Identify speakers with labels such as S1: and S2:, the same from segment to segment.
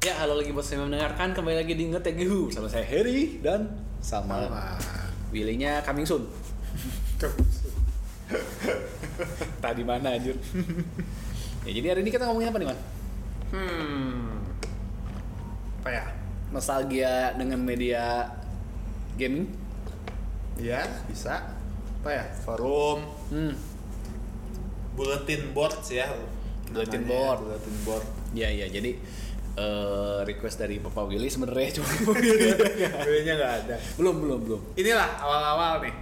S1: Ya, halo lagi buat semua yang mendengarkan kembali lagi di Ngetek Gehu sama saya Heri dan sama Willy-nya coming soon. Tadi mana anjir? ya jadi hari ini kita ngomongin apa nih, Man?
S2: Hmm. Apa ya?
S1: Nostalgia dengan media gaming?
S2: Iya, bisa. Apa ya? Forum,
S1: Hmm.
S2: bulletin board ya.
S1: Bulletin
S2: namanya.
S1: board.
S2: Bulletin board.
S1: Ya ya, jadi eh, request dari Bapak Willy sebenarnya cuma Bapak Willy.
S2: Bedanya nggak ada.
S1: belum belum belum.
S2: Inilah awal-awal nih.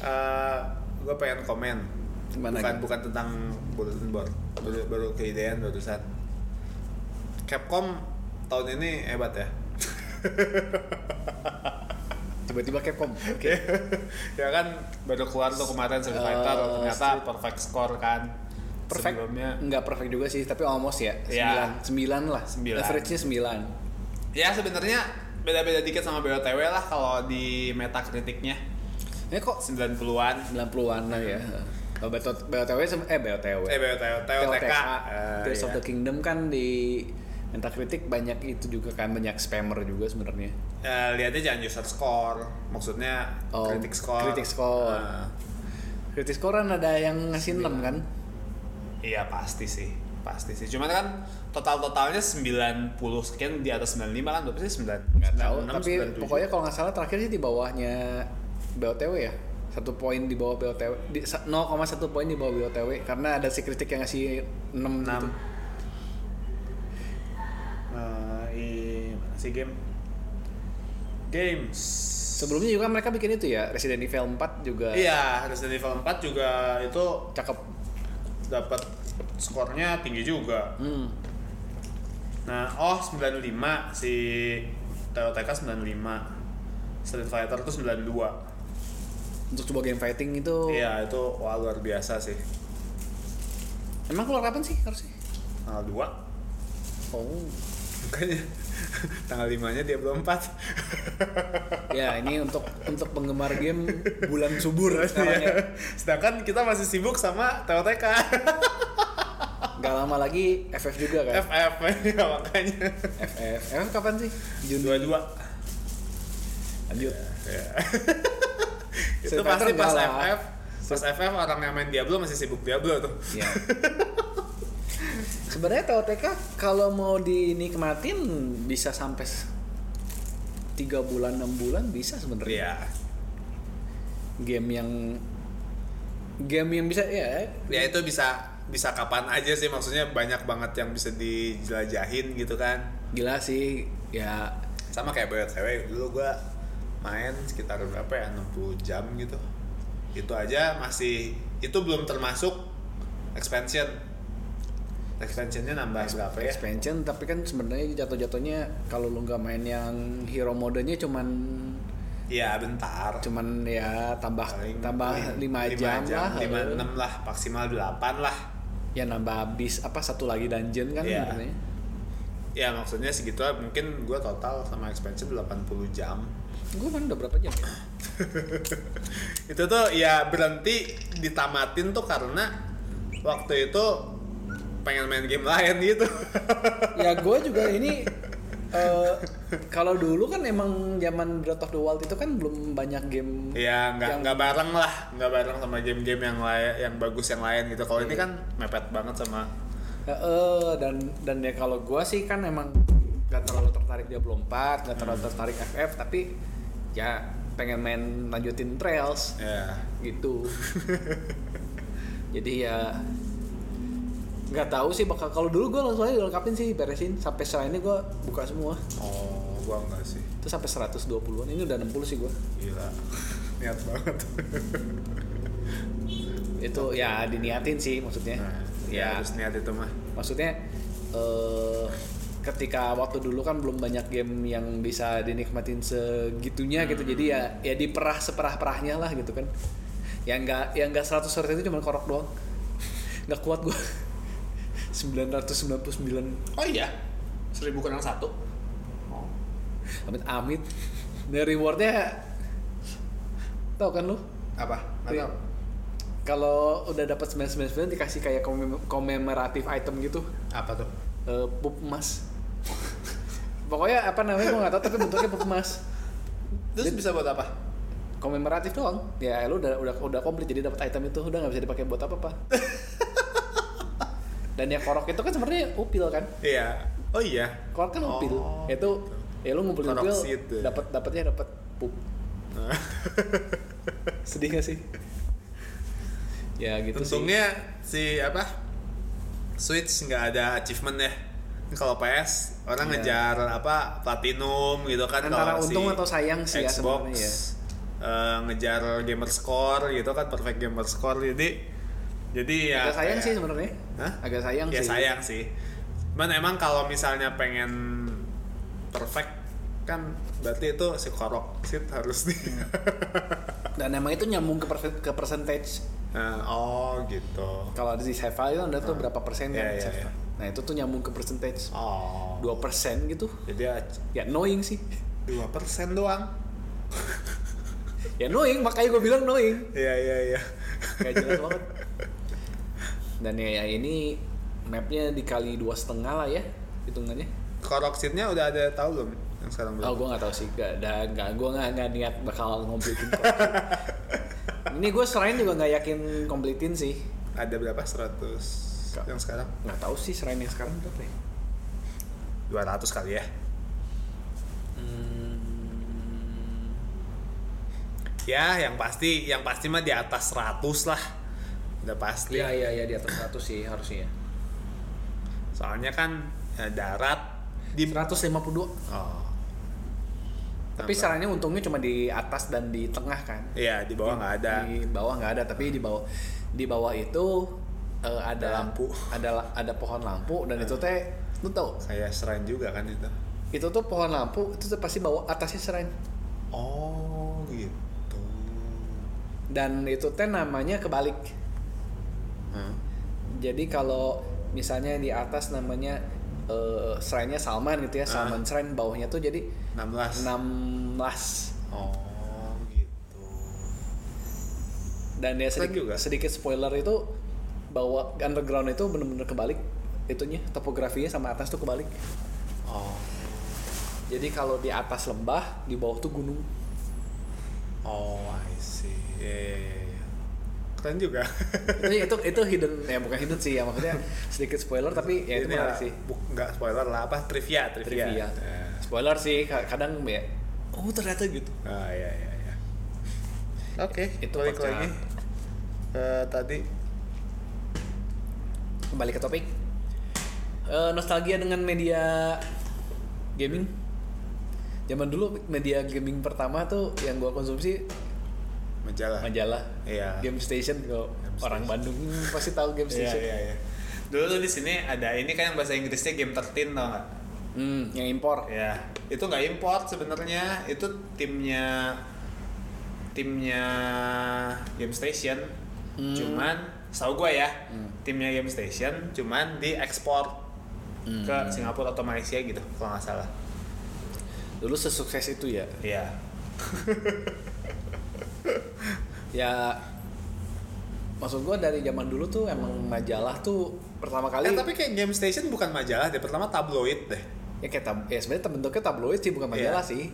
S2: Eh gue pengen komen.
S1: Gimana Iya.
S2: bukan
S1: gitu?
S2: bukan tentang bulletin board. Baru, baru keidean barusan. Capcom tahun ini hebat ya.
S1: Tiba-tiba Capcom. Oke.
S2: ya kan baru keluar tuh kemarin Street
S1: Eh,
S2: Fighter ternyata
S1: Street-
S2: perfect score kan.
S1: Perfect.
S2: Sebelumnya
S1: Nggak perfect juga sih, tapi almost ya.
S2: Ya.
S1: 9. 9 lah.
S2: Sembilan.
S1: Average-nya 9.
S2: Ya sebenarnya beda-beda dikit sama BOTW lah kalau di meta kritiknya
S1: Ini kok
S2: 90-an.
S1: 90-an lah ya. Kalau BTW BOTW sama- eh BOTW.
S2: Eh BOTW, TOTK. Eh,
S1: Tears Ah, of
S2: iya.
S1: the Kingdom kan di Minta kritik banyak itu juga kan banyak spammer juga sebenarnya.
S2: Eh, lihatnya jangan user score, maksudnya
S1: Oh,
S2: kritik score.
S1: kritik score. Ah.
S2: Eh,
S1: Kritis koran ada yang ngasih 6 kan?
S2: iya pasti sih, pasti sih. Cuman kan total-totalnya 90 sekian di atas 95 kan berapa sih? 9.
S1: Nggak tahu, tapi pokoknya kalau nggak salah terakhir sih di bawahnya BOTW ya. Satu poin di bawah BOTW, di, sa- 0,1 poin di bawah BOTW karena ada si kritik yang ngasih 6,
S2: 6.
S1: gitu.
S2: Eh, mana sih game? Games.
S1: Sebelumnya juga mereka bikin itu ya, Resident Evil 4 juga
S2: Iya, Resident Evil 4 juga itu
S1: cakep.
S2: dapat skornya tinggi juga.
S1: Hmm.
S2: Nah, oh 95 si TOTK 95. Street Fighter itu 92.
S1: Untuk sebuah game fighting itu
S2: Iya, itu wah luar biasa sih.
S1: Emang keluar kapan sih harusnya?
S2: Tanggal 2
S1: Oh.
S2: bukannya tanggal 5-nya dia belum 4.
S1: ya, ini untuk untuk penggemar game bulan subur
S2: Iya.
S1: sekarang ya.
S2: Sedangkan kita masih sibuk sama TOTK.
S1: Gak lama lagi FF juga kan?
S2: FF ya makanya.
S1: FF. FF kapan sih? Juni.
S2: 22.
S1: Lanjut.
S2: Ya. itu
S1: Street
S2: pasti
S1: Fighter
S2: pas
S1: enggak lah.
S2: FF. Pas FF orang yang main Diablo masih sibuk Diablo tuh.
S1: Ya. Sebenarnya TOTK kalau mau dinikmatin bisa sampai 3 bulan 6 bulan bisa sebenarnya.
S2: Iya.
S1: Game yang game yang bisa ya
S2: ya itu bisa bisa kapan aja sih maksudnya banyak banget yang bisa dijelajahin gitu kan
S1: gila sih ya
S2: sama kayak BOTW dulu gua main sekitar berapa ya 60 jam gitu itu aja masih itu belum termasuk expansion expansionnya nambah berapa ya
S1: expansion tapi kan sebenarnya jatuh-jatuhnya kalau lu nggak main yang hero modenya cuman
S2: iya bentar
S1: cuman ya tambah
S2: Paling
S1: tambah lima jam, lah
S2: lima enam lah maksimal delapan lah
S1: ya nambah bis apa satu lagi dungeon kan
S2: Iya.
S1: sebenarnya
S2: ya maksudnya segitu lah. mungkin gua total sama expansion 80 jam
S1: gue main udah berapa jam ya?
S2: itu tuh ya berhenti ditamatin tuh karena waktu itu pengen main game lain gitu
S1: ya gue juga ini eh, kalau dulu kan emang zaman Breath of the Wild itu kan belum banyak game Yang-
S2: ya nggak nggak bareng lah nggak bareng sama game-game yang lain yang bagus yang lain gitu kalau ini kan mepet banget sama
S1: Eh, eh, dan dan ya kalau gua sih kan emang gak terlalu tertarik dia belum 4 gak
S2: Hmm.
S1: terlalu tertarik FF tapi ya pengen main lanjutin trails
S2: ya
S1: gitu jadi ya nggak tahu sih bakal kalau dulu gua langsung aja lengkapin sih beresin sampai setelah ini gua buka semua
S2: oh gua enggak sih
S1: itu sampai 120-an ini udah 60 sih gua
S2: gila Eh, niat banget
S1: itu ya diniatin sih maksudnya
S2: nah, ya harus niat itu mah
S1: maksudnya eh ketika waktu dulu kan belum banyak game yang bisa dinikmatin segitunya gitu jadi ya ya diperah seperah-perahnya lah gitu kan yang enggak yang enggak 100 itu cuma korok doang nggak kuat gua 999
S2: oh iya seribu kurang satu Oh.
S1: amit amit dari rewardnya tau kan lu
S2: apa nggak tahu
S1: kalau udah dapat 999 dikasih kayak komem- komemoratif item gitu
S2: apa tuh
S1: Eh, pup emas pokoknya apa namanya gue nggak tahu tapi bentuknya pop emas
S2: Terus bisa buat apa?
S1: komemoratif doang ya lu udah udah udah komplit jadi dapat item itu udah nggak bisa dipakai buat apa apa dan yang korok itu kan sebenarnya upil kan
S2: Iya. Oh iya.
S1: korok kan upil
S2: Oh,
S1: itu ya lu ngumpulin
S2: Korok
S1: upil
S2: seed, ya.
S1: dapat dapatnya dapat pup sedih gak sih ya gitu sih
S2: Untungnya si apa? Switch nggak ada achievement ya. Kalau PS orang
S1: Iya.
S2: ngejar apa platinum gitu kan
S1: Antara
S2: kalau si
S1: untung atau sayang sih ya
S2: Xbox
S1: sebenarnya ya.
S2: eh, ngejar gamer score gitu kan perfect gamer score jadi jadi ya
S1: agak sayang
S2: kayak-
S1: sih sebenarnya
S2: Hah?
S1: agak sayang
S2: ya
S1: sih
S2: sayang sih cuman emang kalau misalnya pengen perfect kan berarti itu si korok sit harus di
S1: Iya. dan emang itu nyambung ke persen- ke percentage
S2: Nah, oh gitu
S1: kalau di Seva itu ada tuh berapa persen
S2: Iya,
S1: yang
S2: iya,
S1: Seva.
S2: iya.
S1: nah itu tuh nyambung ke percentage
S2: oh
S1: dua persen gitu
S2: jadi
S1: ya annoying sih
S2: dua persen doang
S1: ya annoying makanya gue bilang annoying
S2: iya iya iya
S1: kayak jelas banget dan ya, ya ini mapnya dikali dua setengah lah ya hitungannya
S2: korok seatnya udah ada tahu belum yang sekarang
S1: oh
S2: belum
S1: gue nggak tahu sih gak ada nggak gue nggak nggak niat bakal ngomplitin kok. ini gue selain juga nggak yakin komplitin sih
S2: ada berapa 100
S1: Nggak.
S2: yang sekarang
S1: nggak tahu sih selain yang sekarang berapa ya
S2: 200 kali ya Hmm. ya yang pasti yang pasti mah di atas 100 lah udah pasti
S1: Iya iya iya di atas 100 sih harusnya.
S2: soalnya kan eh, darat di
S1: 152.
S2: oh.
S1: Tapi
S2: Tambah.
S1: sarannya untungnya cuma di atas dan di tengah kan.
S2: Iya, di bawah nggak ada.
S1: Di bawah nggak ada, tapi di bawah di bawah itu eh, ada
S2: lampu.
S1: ada la- ada pohon lampu dan itu teh lu tau
S2: Kayak serain juga kan itu.
S1: itu tuh pohon lampu itu tuh pasti bawa atasnya serain
S2: Oh, gitu.
S1: dan itu teh namanya kebalik
S2: Hah?
S1: jadi kalau misalnya di atas namanya eh serainnya Salman gitu ya
S2: Ah.
S1: Salman serain bawahnya tuh jadi
S2: 16.
S1: 16
S2: Oh, gitu.
S1: dan ya
S2: Keren
S1: sedikit,
S2: juga.
S1: sedikit spoiler itu bahwa underground itu bener-bener kebalik itunya topografinya sama atas tuh kebalik
S2: Oh.
S1: jadi kalau di atas lembah di bawah tuh gunung
S2: Oh, I see. Iya, iya, iya, iya. Keren juga.
S1: itu itu, itu hidden ya bukan hidden sih ya maksudnya sedikit spoiler tapi ya itu
S2: Ini
S1: menarik sih
S2: buk- nggak spoiler lah, apa? Trivia, trivia.
S1: trivia
S2: Eh.
S1: spoiler sih ka- kadang ya oh ternyata gitu
S2: Ah, iya, iya, iya. Oke,
S1: Itu
S2: balik
S1: pecah.
S2: lagi. Eh, tadi
S1: kembali ke topik Eh, nostalgia dengan media gaming zaman dulu media gaming pertama tuh yang gua konsumsi
S2: majalah.
S1: majalah
S2: Iya.
S1: Game Station kalau orang Bandung pasti tahu Game
S2: Iya,
S1: Station
S2: iya, iya. Dulu di sini ada ini kan yang bahasa Inggrisnya game 13 tau nggak?
S1: hmm yang impor
S2: Ya, itu nggak import sebenarnya. Itu timnya timnya Game Station.
S1: Hmm.
S2: Cuman, tahu gue ya,
S1: Hmm.
S2: timnya Game Station cuman diekspor
S1: Hmm.
S2: ke Singapura atau Malaysia gitu, kalau nggak salah.
S1: dulu sesukses itu ya
S2: Iya.
S1: ya maksud gua dari zaman dulu tuh emang majalah tuh pertama kali
S2: Eh, tapi kayak Game Station bukan majalah deh, pertama tabloid deh.
S1: ya kayak tab ya sebenarnya bentuknya tabloid sih bukan majalah
S2: Iya.
S1: sih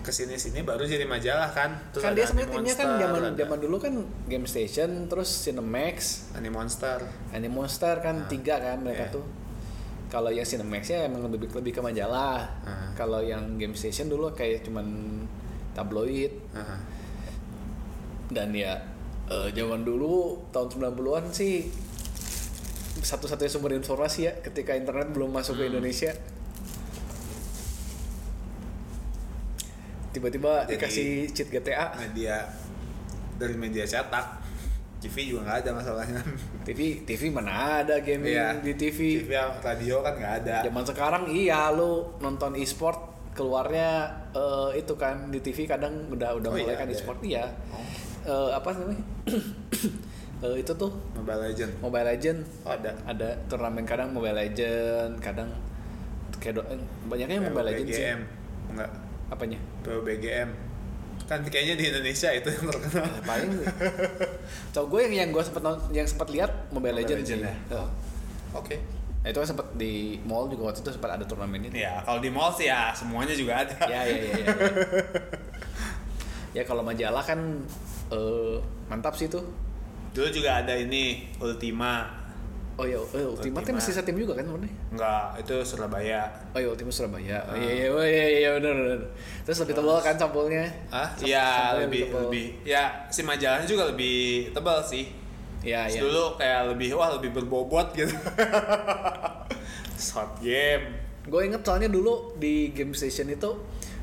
S2: Kesini-sini baru jadi majalah kan. Terus
S1: kan
S2: ada
S1: dia sebenarnya timnya kan
S2: Animonster,
S1: zaman
S2: ada
S1: zaman dulu kan Game Station terus Cinemax
S2: Animonster.
S1: Animonster kan
S2: Nah,
S1: tiga kan mereka
S2: iya.
S1: tuh kalau yang Cinemax ya emang lebih lebih ke majalah
S2: Nah.
S1: kalau yang Game Station dulu kayak cuman tabloid
S2: Aha.
S1: dan ya eh, zaman dulu tahun 90-an sih satu-satunya sumber informasi ya ketika internet belum masuk
S2: Hmm.
S1: ke Indonesia tiba-tiba
S2: Jadi-
S1: dikasih cheat GTA
S2: Media dari media cetak. TV juga nggak ada masalahnya.
S1: TV TV mana ada gaming
S2: Iya.
S1: di TV
S2: TV radio kan nggak ada.
S1: zaman sekarang iya lu nonton e-sport keluarnya eh, itu kan di TV kadang udah udah
S2: Oh
S1: mulai
S2: iya,
S1: kan
S2: ada.
S1: e-sport iya
S2: Oh.
S1: Eh, apa namanya Eh, itu tuh
S2: Mobile Legend.
S1: Mobile Legend
S2: Oh, ada.
S1: ada turnamen kadang Mobile Legend kadang kayak do- eh, banyaknya yang Mobile Legend sih
S2: PUBGM. Enggak.
S1: apanya
S2: PUBGM. Kan kayaknya di Indonesia itu yang terkenal.
S1: paling cowok gue yang yang gue sempat yang sempat lihat Mobile,
S2: Mobile
S1: Legend,
S2: Legend
S1: sih.
S2: ya?
S1: Tuh.
S2: Oke.
S1: Nah, itu kan sempat di mall juga waktu itu sempat ada turnamen ini.
S2: Ya, kalau di mall sih ya semuanya juga ada.
S1: ya ya ya. Ya, ya kalau majalah kan eh, mantap sih tuh.
S2: Dulu juga ada ini Ultima.
S1: Oh iya, eh, Ultima kan
S2: Ultima.
S1: masih Satim juga kan sebenarnya.
S2: Enggak, itu Surabaya.
S1: Oh iya, Ultima Surabaya. Oh iya iya oh, iya iya benar benar. Terus lebih tebal kan sampulnya.
S2: Ah,
S1: Sam-
S2: ya
S1: sampulnya
S2: lebih
S1: tebal.
S2: lebih. Ya, si majalahnya juga lebih tebal sih.
S1: Iya
S2: Terus
S1: iya.
S2: Dulu kayak lebih wah lebih berbobot gitu. Short game.
S1: Gue inget soalnya dulu di Game Station itu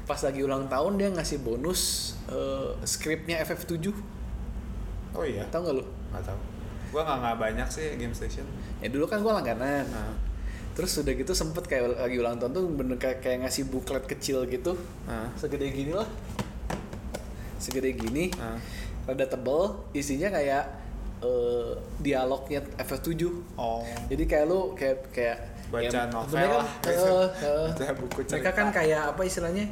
S1: pas lagi ulang tahun dia ngasih bonus eh, skripnya FF7.
S2: Oh iya.
S1: Tahu nggak lu?
S2: Nggak tahu. Gua nggak nggak banyak sih game station.
S1: Ya dulu kan gue langganan.
S2: Nah,
S1: Terus udah gitu sempet kayak lagi ulang tahun tuh bener kayak, kayak ngasih buklet kecil gitu.
S2: nah,
S1: Segede gini lah. Segede gini.
S2: nah.
S1: Rada tebel, isinya kayak eh, dialognya FF7.
S2: Oh.
S1: Jadi kayak lu kayak kayak
S2: Baca novel
S1: sebenarnya
S2: lah.
S1: eh, eh,
S2: Baca buku
S1: mereka
S2: cerita.
S1: kan kayak apa istilahnya?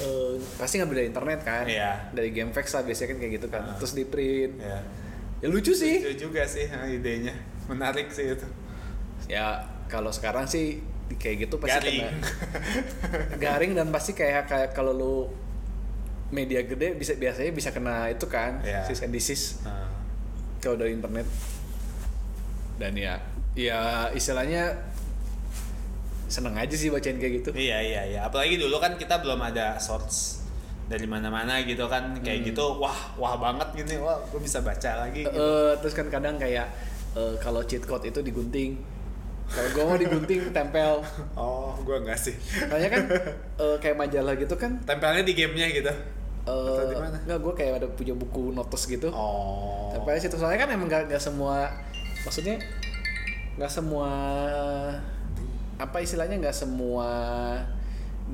S1: eh, pasti ngambil dari internet kan.
S2: Iya.
S1: Dari GameFAQs lah biasanya kan kayak gitu kan.
S2: Ah.
S1: Terus di print.
S2: Ya.
S1: Ya lucu sih.
S2: Lucu juga sih eh, idenya. Menarik sih itu.
S1: Ya kalau sekarang sih kayak gitu pasti
S2: Garing.
S1: kena garing dan pasti kayak kayak kalau lu media gede bisa biasanya bisa kena itu kan
S2: Iya.
S1: sis and disease
S2: Nah,
S1: kalau dari internet dan ya ya istilahnya seneng aja sih bacain kayak gitu
S2: Iya iya iya. Apalagi dulu kan kita belum ada source dari mana-mana gitu kan kayak gitu wah wah banget gini wah gue bisa baca lagi gitu.
S1: Eh, terus kan kadang kayak eh, kalau cheat code itu digunting kalau gue mau digunting tempel
S2: oh gue nggak sih
S1: soalnya kan eh, kayak majalah gitu kan
S2: tempelnya di gamenya gitu Atau
S1: eh
S2: di mana?
S1: nggak gue kayak ada punya buku notes gitu
S2: oh
S1: Tapi situ soalnya kan emang gak, gak semua maksudnya gak semua apa istilahnya gak semua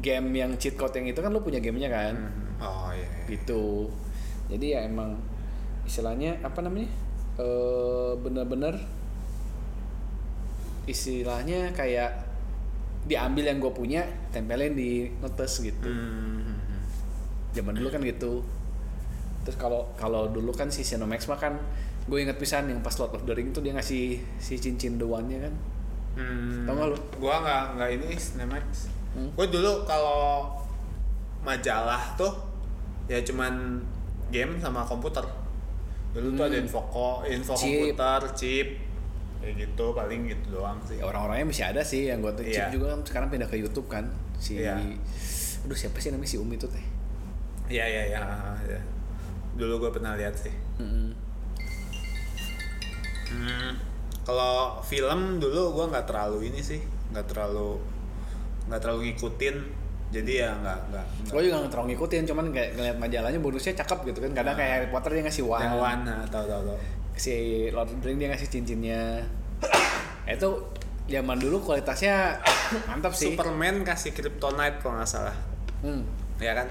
S1: game yang cheat code yang itu kan lu punya gamenya kan
S2: Hmm. oh iya, iya.
S1: gitu jadi ya emang istilahnya apa namanya eh bener-bener istilahnya kayak diambil yang gue punya tempelin di notes gitu
S2: Hmm.
S1: zaman dulu kan gitu terus kalau kalau dulu kan si Cinemax mah kan gue inget pisan yang pas Lord of the Ring tuh dia ngasih si cincin dewannya kan
S2: Hmm.
S1: Tau nggak lu?
S2: Gua nggak nggak ini Cinemax.
S1: Hmm.
S2: Gua dulu kalau majalah tuh ya cuman game sama komputer. Dulu tuh ada info info
S1: Hmm. Chip.
S2: komputer, chip, kayak gitu paling gitu doang
S1: ya
S2: sih.
S1: orang-orangnya masih ada sih yang gue tuh
S2: Iya.
S1: juga kan sekarang pindah ke YouTube kan si
S2: Iya.
S1: aduh siapa sih namanya si Umi tuh teh
S2: Iya iya iya. iya. Dulu gua pernah lihat sih.
S1: Mm-mm.
S2: Hmm. Kalau film dulu gua nggak terlalu ini sih, nggak terlalu nggak terlalu ngikutin. Jadi ya nggak nggak. nggak-
S1: gue juga nggak terlalu ngikutin cuman kayak ngeliat majalahnya bonusnya cakep gitu kan kadang kayak Harry Potter dia ngasih wand
S2: Yang warna tahu tahu tahu.
S1: si Lord of the Ring dia ngasih cincinnya itu zaman dulu kualitasnya mantap sih
S2: Superman kasih Kryptonite kalau nggak salah,
S1: Hmm.
S2: ya kan?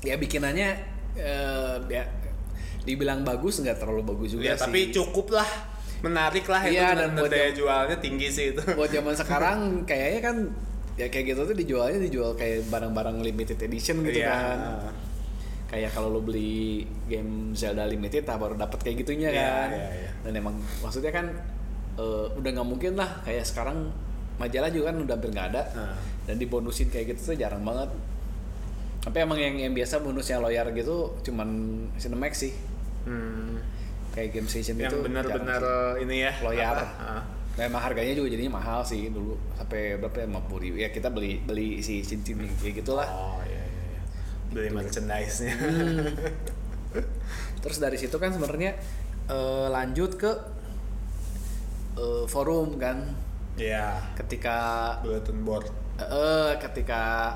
S1: ya bikinannya eh ya dibilang bagus nggak terlalu bagus juga
S2: Ya,
S1: sih.
S2: tapi cukup lah, menarik lah
S1: Iya,
S2: itu
S1: dan
S2: dan
S1: buat
S2: daya
S1: yang-
S2: jualnya tinggi sih itu.
S1: buat zaman sekarang kayaknya kan ya kayak gitu tuh dijualnya dijual kayak barang-barang limited edition gitu
S2: Iya.
S1: kan. Kayak kalau lo beli game Zelda limited nah baru dapet kayak gitunya
S2: Iya,
S1: kan.
S2: iya, iya.
S1: Dan emang maksudnya kan eh, udah nggak mungkin lah kayak sekarang majalah juga kan udah hampir nggak ada.
S2: Nah.
S1: Dan dibonusin kayak gitu tuh jarang banget. Tapi emang yang yang biasa bonusnya loyar gitu cuman Cinemax sih.
S2: Hmm.
S1: kayak game station
S2: Yang
S1: itu
S2: benar-benar
S1: jarang
S2: ini ya.
S1: Loyal.
S2: apa? Ah.
S1: sih. Nah, emang harganya juga jadinya mahal sih dulu sampai berapa ya 50 ribu ya kita beli beli si cincin kayak gitulah
S2: Oh iya iya. iya. Beli merchandise-nya.
S1: Hmm. terus dari situ kan sebenarnya eh, lanjut ke eh, forum kan
S2: Iya.
S1: ketika
S2: Bulletin board.
S1: eh, ketika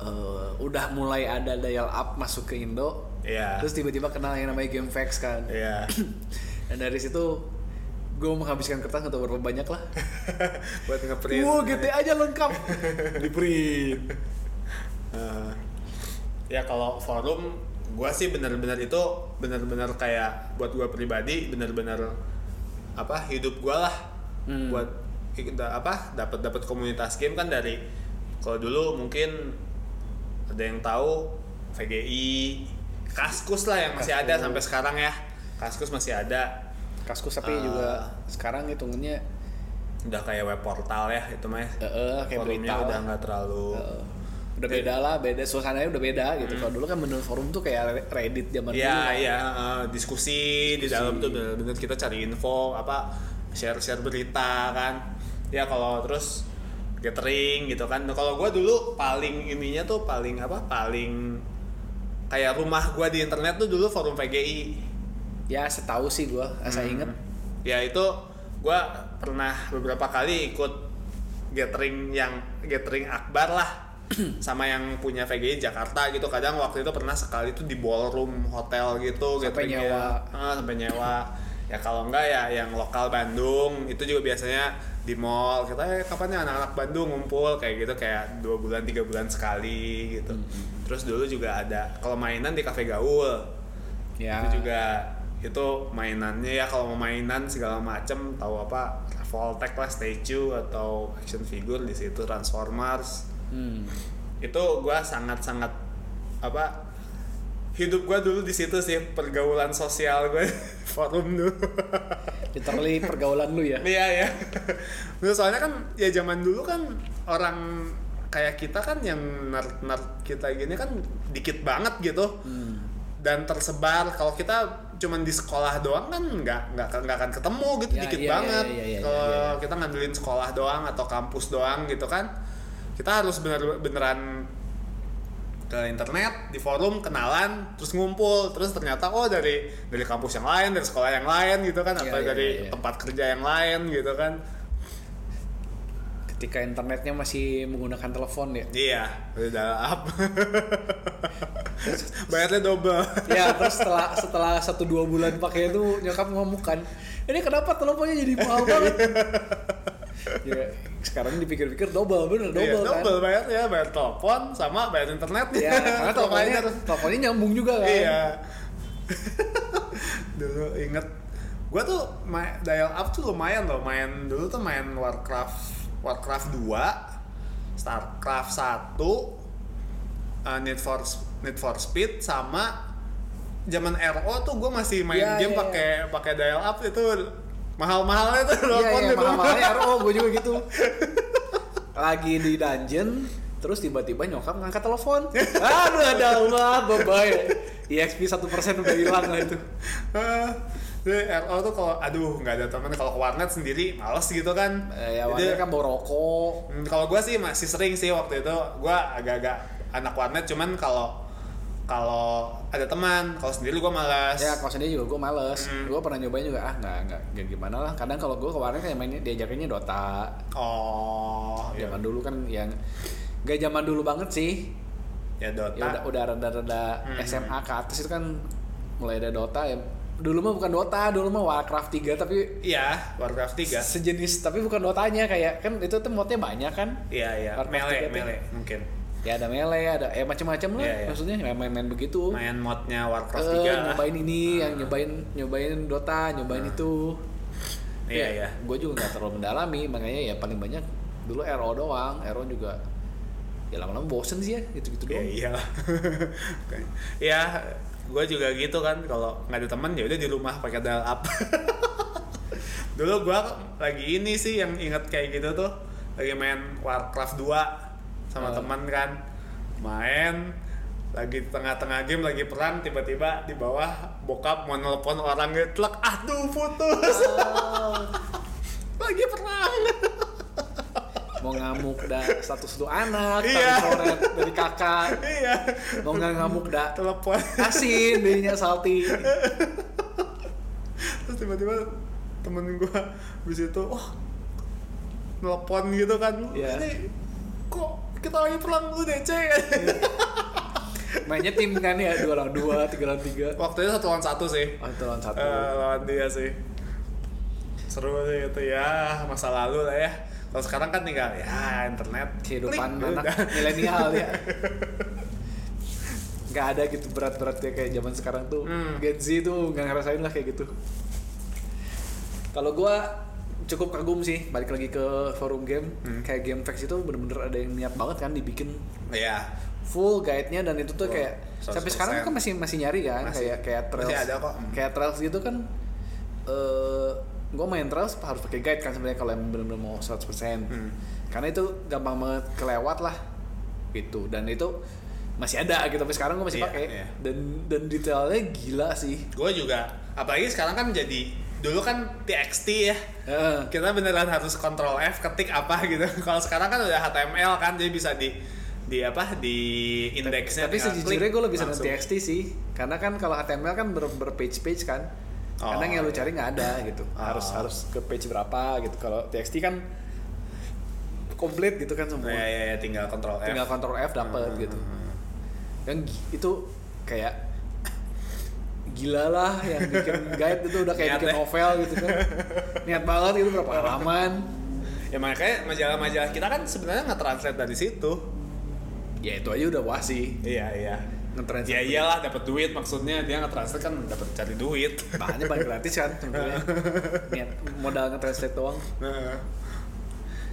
S1: eh, udah mulai ada dial up masuk ke Indo
S2: Iya.
S1: terus tiba-tiba kenal yang namanya GameFAQs kan
S2: Iya.
S1: dan dari situ gue menghabiskan kertas atau berapa banyak lah
S2: Buat ngeprint.
S1: Wow, GTA aja lengkap. Di print.
S2: Eh, ya kalau forum gua sih bener-bener itu bener-bener kayak buat gua pribadi bener-bener apa hidup gua lah
S1: Hmm.
S2: buat i- da- apa dapat dapat komunitas game kan dari kalau dulu mungkin ada yang tahu VGI Kaskus lah yang masih ada
S1: Kaskus.
S2: sampai sekarang ya Kaskus masih ada
S1: Kaskus tapi
S2: Ah.
S1: juga sekarang hitungannya
S2: udah kayak web portal ya itu mah.
S1: Eh, eh, kayak
S2: Forumnya
S1: berita Eh,
S2: udah
S1: lah.
S2: nggak terlalu.
S1: Heeh. udah beda lah beda suasananya udah beda gitu
S2: Hmm.
S1: kalau dulu kan menurut forum tuh kayak Reddit zaman
S2: Iya,
S1: dulu
S2: iya, eh, diskusi, di dalam tuh bener-bener kita cari info apa share-share berita kan. Ya kalau terus gathering gitu kan. Nah, Kalau gua dulu paling ininya tuh paling apa? Paling kayak rumah gua di internet tuh dulu forum VGI.
S1: ya setahu sih gua asal inget
S2: Ya itu gua pernah beberapa kali ikut gathering yang gathering akbar lah sama yang punya VGI Jakarta gitu kadang waktu itu pernah sekali tuh di ballroom hotel gitu
S1: Sampai
S2: gatheringnya.
S1: nyewa.
S2: Ah, sampai nyewa ya kalau enggak ya yang lokal Bandung itu juga biasanya di mall kita eh, kapan ya anak-anak Bandung ngumpul kayak gitu kayak dua bulan tiga bulan sekali gitu
S1: Hmm.
S2: terus dulu juga ada kalau mainan di kafe gaul
S1: ya
S2: itu juga itu mainannya ya kalau mau mainan segala macem tahu apa Voltec lah statue atau action figure di situ Transformers
S1: Hmm.
S2: itu gua sangat sangat apa hidup gua dulu di situ sih pergaulan sosial gue forum dulu
S1: literally pergaulan lu ya
S2: Iya ya. Nah, soalnya kan ya zaman dulu kan orang kayak kita kan yang nerd nerd kita gini kan dikit banget gitu.
S1: Hmm.
S2: Dan tersebar kalau kita cuman di sekolah doang kan nggak nggak nggak akan ketemu gitu
S1: Ya,
S2: dikit
S1: iya,
S2: banget.
S1: iya, iya, iya,
S2: kalau
S1: iya, iya.
S2: kita ngandelin sekolah doang atau kampus doang gitu kan kita harus bener beneran ke internet di forum kenalan terus ngumpul terus ternyata oh dari dari kampus yang lain dari sekolah yang lain gitu kan
S1: Iya,
S2: atau
S1: iya,
S2: dari
S1: iya, iya.
S2: tempat kerja yang lain gitu kan
S1: ketika internetnya masih menggunakan telepon ya
S2: iya udah up bayarnya double
S1: ya terus setelah setelah satu dua bulan pakai itu nyokap ngamuk kan ini kenapa teleponnya jadi mahal banget ya sekarang dipikir-pikir double bener double,
S2: Iya,
S1: kan
S2: double bayarnya bayar telepon sama bayar internet
S1: ya karena teleponnya
S2: Makanya-
S1: teleponnya nyambung juga kan
S2: iya dulu inget gua tuh ma- dial up tuh lumayan loh main dulu tuh main Warcraft Warcraft 2 Starcraft 1 uh, Need for Need for Speed sama zaman RO tuh gue masih main
S1: Iya,
S2: game
S1: iya,
S2: pakai pakai dial up itu mahal-mahalnya tuh
S1: iya
S2: telepon
S1: iya
S2: di rumah.
S1: mahal-mahalnya RO gue juga gitu lagi di dungeon terus tiba-tiba nyokap ngangkat telepon aduh ada umat bye-bye E EXP 1% udah hilang lah itu
S2: Heeh. Jadi RO eh, tuh kalau aduh nggak ada temen kalau ke warnet sendiri males gitu kan.
S1: Eh, ya awalnya
S2: Jadi-
S1: kan bawa rokok
S2: Hmm, kalau gue sih masih sering sih waktu itu gue agak-agak anak warnet cuman kalau kalau ada teman kalau sendiri gue malas
S1: ya kalau sendiri juga gue males
S2: Mm.
S1: gue pernah nyobain juga ah nggak nggak nggak gimana lah kadang kalau gue kemarin kayak mainnya diajakinnya Dota
S2: oh ya,
S1: zaman dulu kan yang nggak zaman dulu banget sih
S2: ya Dota
S1: ya udah udah rada-rada
S2: Mm.
S1: SMA ke atas itu kan mulai ada Dota ya dulu mah bukan Dota dulu mah Warcraft 3 tapi
S2: iya Warcraft 3
S1: sejenis tapi bukan Dotanya kayak kan itu tuh modnya banyak kan
S2: iya iya
S1: Warcraft
S2: Melee
S1: 3 tuh.
S2: Melee mungkin
S1: ya ada melee ada ya macam-macam lah
S2: Iya, iya.
S1: maksudnya ya main-main begitu
S2: main modnya Warcraft
S1: Eh,
S2: 3 lah Nah.
S1: nyobain ini yang nyobain nyobain Dota nyobain itu
S2: iya iya
S1: gue juga nggak terlalu mendalami makanya ya paling banyak dulu RO doang RO juga ya lama-lama bosen sih ya gitu-gitu
S2: ya
S1: doang
S2: iya ya gue juga gitu kan kalau nggak ada teman ya udah di rumah pakai dial up dulu gue lagi ini sih yang inget kayak gitu tuh lagi main Warcraft 2 sama
S1: Oh.
S2: teman kan main lagi di tengah-tengah game lagi perang tiba-tiba di bawah bokap mau nelpon orang telak aduh putus lagi perang
S1: mau ngamuk dah status itu anak
S2: Iya.
S1: tapi coret dari kakak
S2: iya
S1: mau nggak ngamuk dah
S2: telepon
S1: asin dirinya salty
S2: terus tiba-tiba temen gue habis itu wah nelpon gitu kan
S1: Iya.
S2: ini kok kita lagi perang lu DC Iya,
S1: mainnya tim kan ya dua lawan dua tiga lawan tiga
S2: waktu itu satu lawan satu sih
S1: oh, itu lawan satu
S2: Eh, lawan dia sih seru sih itu ya masa lalu lah ya kalau sekarang kan tinggal ya internet
S1: kehidupan
S2: Klik,
S1: anak
S2: udah.
S1: milenial ya nggak ada gitu berat-beratnya kayak zaman sekarang tuh
S2: Hmm.
S1: Gen Z tuh nggak ngerasain lah kayak gitu kalau gua cukup kagum sih balik lagi ke forum game
S2: Hmm.
S1: kayak game facts itu bener-bener ada yang niat banget kan dibikin
S2: iya
S1: full guide-nya dan itu tuh
S2: Full.
S1: kayak sampai
S2: 100%.
S1: sekarang kan masih masih nyari kan
S2: Masih.
S1: kayak kayak
S2: Masih
S1: trails
S2: ada kok. Hmm.
S1: kayak trails gitu kan eh gue main trails harus pakai guide kan sebenarnya kalau yang benar-benar mau 100%
S2: Hmm.
S1: karena itu gampang banget kelewat lah gitu dan itu masih ada gitu tapi sekarang gue
S3: Iya,
S1: masih pakai
S3: iya.
S1: dan dan detailnya gila sih
S2: gue juga apalagi sekarang kan jadi dulu kan TXT ya
S1: Heeh.
S2: kita beneran harus kontrol F ketik apa gitu kalau sekarang kan udah HTML kan jadi bisa di di apa di indeksnya
S1: tapi
S2: tinggal
S1: sejujurnya
S2: Iya, klik,
S1: gue lebih seneng
S2: langsung.
S1: TXT sih karena kan kalau HTML kan ber, page page kan
S3: Oh,
S1: kadang yang lu
S3: iya.
S1: cari nggak ada gitu
S2: Ah.
S1: harus
S3: Oh.
S1: harus ke page berapa gitu kalau TXT kan komplit gitu kan semua
S2: ya, ya, ya tinggal kontrol F
S1: tinggal kontrol F dapet
S2: Hmm,
S1: gitu dan gi- itu kayak gila lah yang bikin guide itu udah kayak
S2: Niat
S1: bikin
S2: ya.
S1: novel gitu kan niat banget itu berapa halaman
S2: ya makanya majalah-majalah kita kan sebenarnya nge-translate dari situ
S1: ya itu aja udah wah sih
S2: iya iya
S1: ngetranslate
S2: ya iyalah dapat duit maksudnya dia nge-translate kan dapat cari duit
S1: bahannya bahan gratis kan sebenarnya niat modal nge-translate doang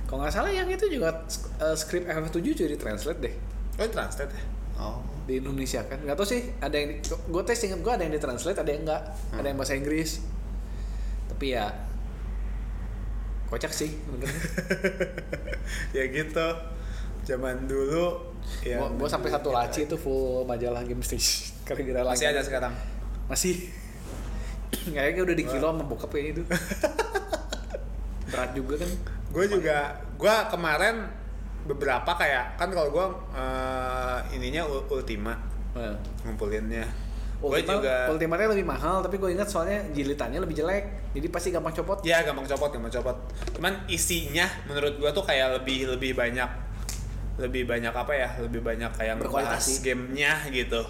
S1: kalau nggak salah yang itu juga eh, script FF7 jadi translate deh
S2: oh translate ya
S3: oh
S1: di Indonesia kan nggak tau sih ada yang gue tes inget gue ada yang ditranslate ada yang enggak
S2: Hmm.
S1: ada yang bahasa Inggris tapi ya kocak sih bener
S2: ya gitu zaman dulu ya
S1: Gua gue sampai satu laci itu full majalah game stage gara-gara lagi
S2: masih ada sekarang
S1: masih kayaknya udah di kilo sama bokap kayaknya itu berat juga kan
S2: gue juga gue kemarin beberapa kayak kan kalau gue eh, ininya ul- ultima
S1: Nah,
S2: ngumpulinnya gue
S1: Ultima,
S2: juga
S1: ultimate-nya lebih mahal, tapi gue ingat soalnya jilitannya lebih jelek, jadi pasti gampang copot.
S2: ya gampang copot gampang copot cuman isinya menurut gue tuh kayak lebih lebih banyak lebih banyak apa ya lebih banyak kayak
S1: Berkualitas
S2: ngebahas
S1: sih.
S2: gamenya gitu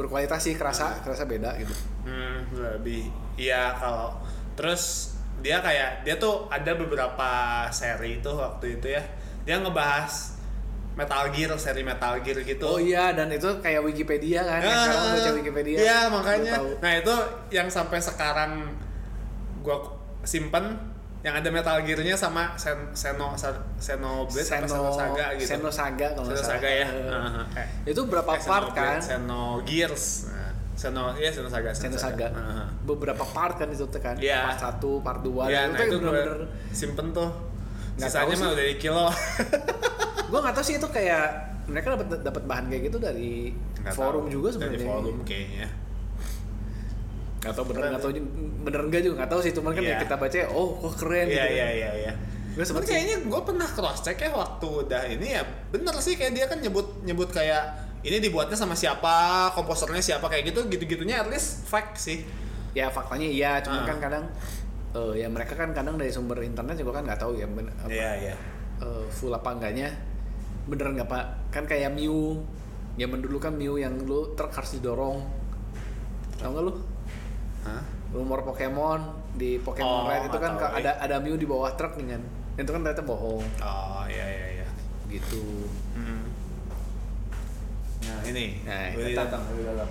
S1: Berkualitas sih kerasa, kerasa beda gitu.
S2: hmm, lebih iya kalau terus dia kayak dia tuh ada beberapa seri itu waktu itu ya dia ngebahas Metal Gear seri Metal Gear gitu
S1: Oh iya, dan itu kayak Wikipedia kan, yang
S2: Ah,
S1: sekarang baca Wikipedia.
S2: Iya,
S1: Lu
S2: makanya.
S1: tahu.
S2: Nah, itu yang sampai sekarang gua simpen yang ada Metal Gear-nya sama Sen Seno Sa- Xenoblade apa
S1: Seno,
S2: Saga gitu.
S1: Seno Saga kalau nggak
S2: Xenosaga
S1: salah.
S2: ya.
S1: Eh,
S2: Heeh. Eh,
S1: Itu berapa
S2: eh,
S1: part
S2: Xenoblade,
S1: kan?
S2: Seno Gears. Nah, Seno iya Ah, Seno Saga.
S1: Seno Saga. Ah,
S2: Heeh.
S1: Beberapa part kan itu tuh kan.
S2: Iya.
S1: Part 1, part 2. itu
S2: Iya, nah, itu gua
S1: bener-bener
S2: simpen tuh.
S1: Nggak
S2: Sisanya
S1: tahu
S2: mah
S1: sih.
S2: udah di kilo.
S1: gue nggak tahu sih itu kayak mereka dapat dapat bahan kayak gitu dari
S3: Nggak
S1: forum
S3: tahu.
S1: juga
S3: Dari
S1: sebenarnya.
S3: forum kayaknya
S1: Nggak tahu bener nggak tahu ju- bener enggak juga nggak tahu sih cuman kan
S2: Iya.
S1: yang kita baca oh kok keren
S2: Iya,
S1: gitu.
S2: iya, iya, iya.
S1: Gue
S2: Cuman
S1: sempet sih.
S2: kayaknya gue pernah cross check ya waktu udah ini ya bener sih kayak dia kan nyebut nyebut kayak ini dibuatnya sama siapa komposernya siapa kayak gitu gitu gitunya at least fact sih
S1: Ya faktanya iya, cuman
S2: Ah.
S1: kan kadang eh, ya mereka kan kadang dari sumber internet juga kan nggak tahu ya ben- apa,
S2: iya
S1: eh, full apa enggaknya bener nggak pak kan kayak Miu zaman dulu kan Miu yang lu truk harus didorong tau nggak lu
S3: Hah?
S1: rumor Pokemon di Pokemon
S2: Oh,
S1: Red itu
S2: nggak
S1: kan
S2: tahu,
S1: ka-
S2: eh.
S1: ada ada Mew di bawah truk nih kan itu kan ternyata bohong
S2: oh iya iya iya
S1: gitu
S2: Hmm. nah ini
S1: Nah,
S2: Willy
S1: datang.
S2: datang Willy datang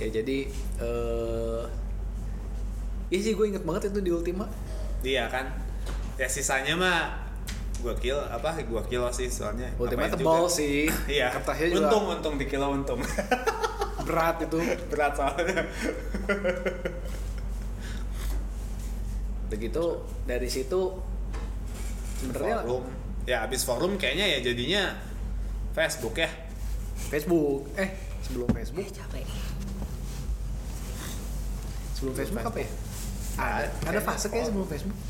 S1: ya jadi eh ya sih gue inget banget itu di Ultima
S2: dia kan ya sisanya mah gua kill apa gua kill sih soalnya
S1: Ultima
S2: Ngapain
S1: tebal
S2: juga.
S1: sih
S2: iya
S1: kertasnya juga
S2: untung untung di kilo untung
S1: berat itu
S2: berat soalnya
S1: begitu gitu, dari situ sebenarnya
S3: Forum.
S2: ya abis forum kayaknya ya jadinya Facebook ya
S1: Facebook eh sebelum Facebook
S4: capek.
S1: sebelum Facebook apa ya
S2: Ada.
S1: ada fase kayaknya sebelum Facebook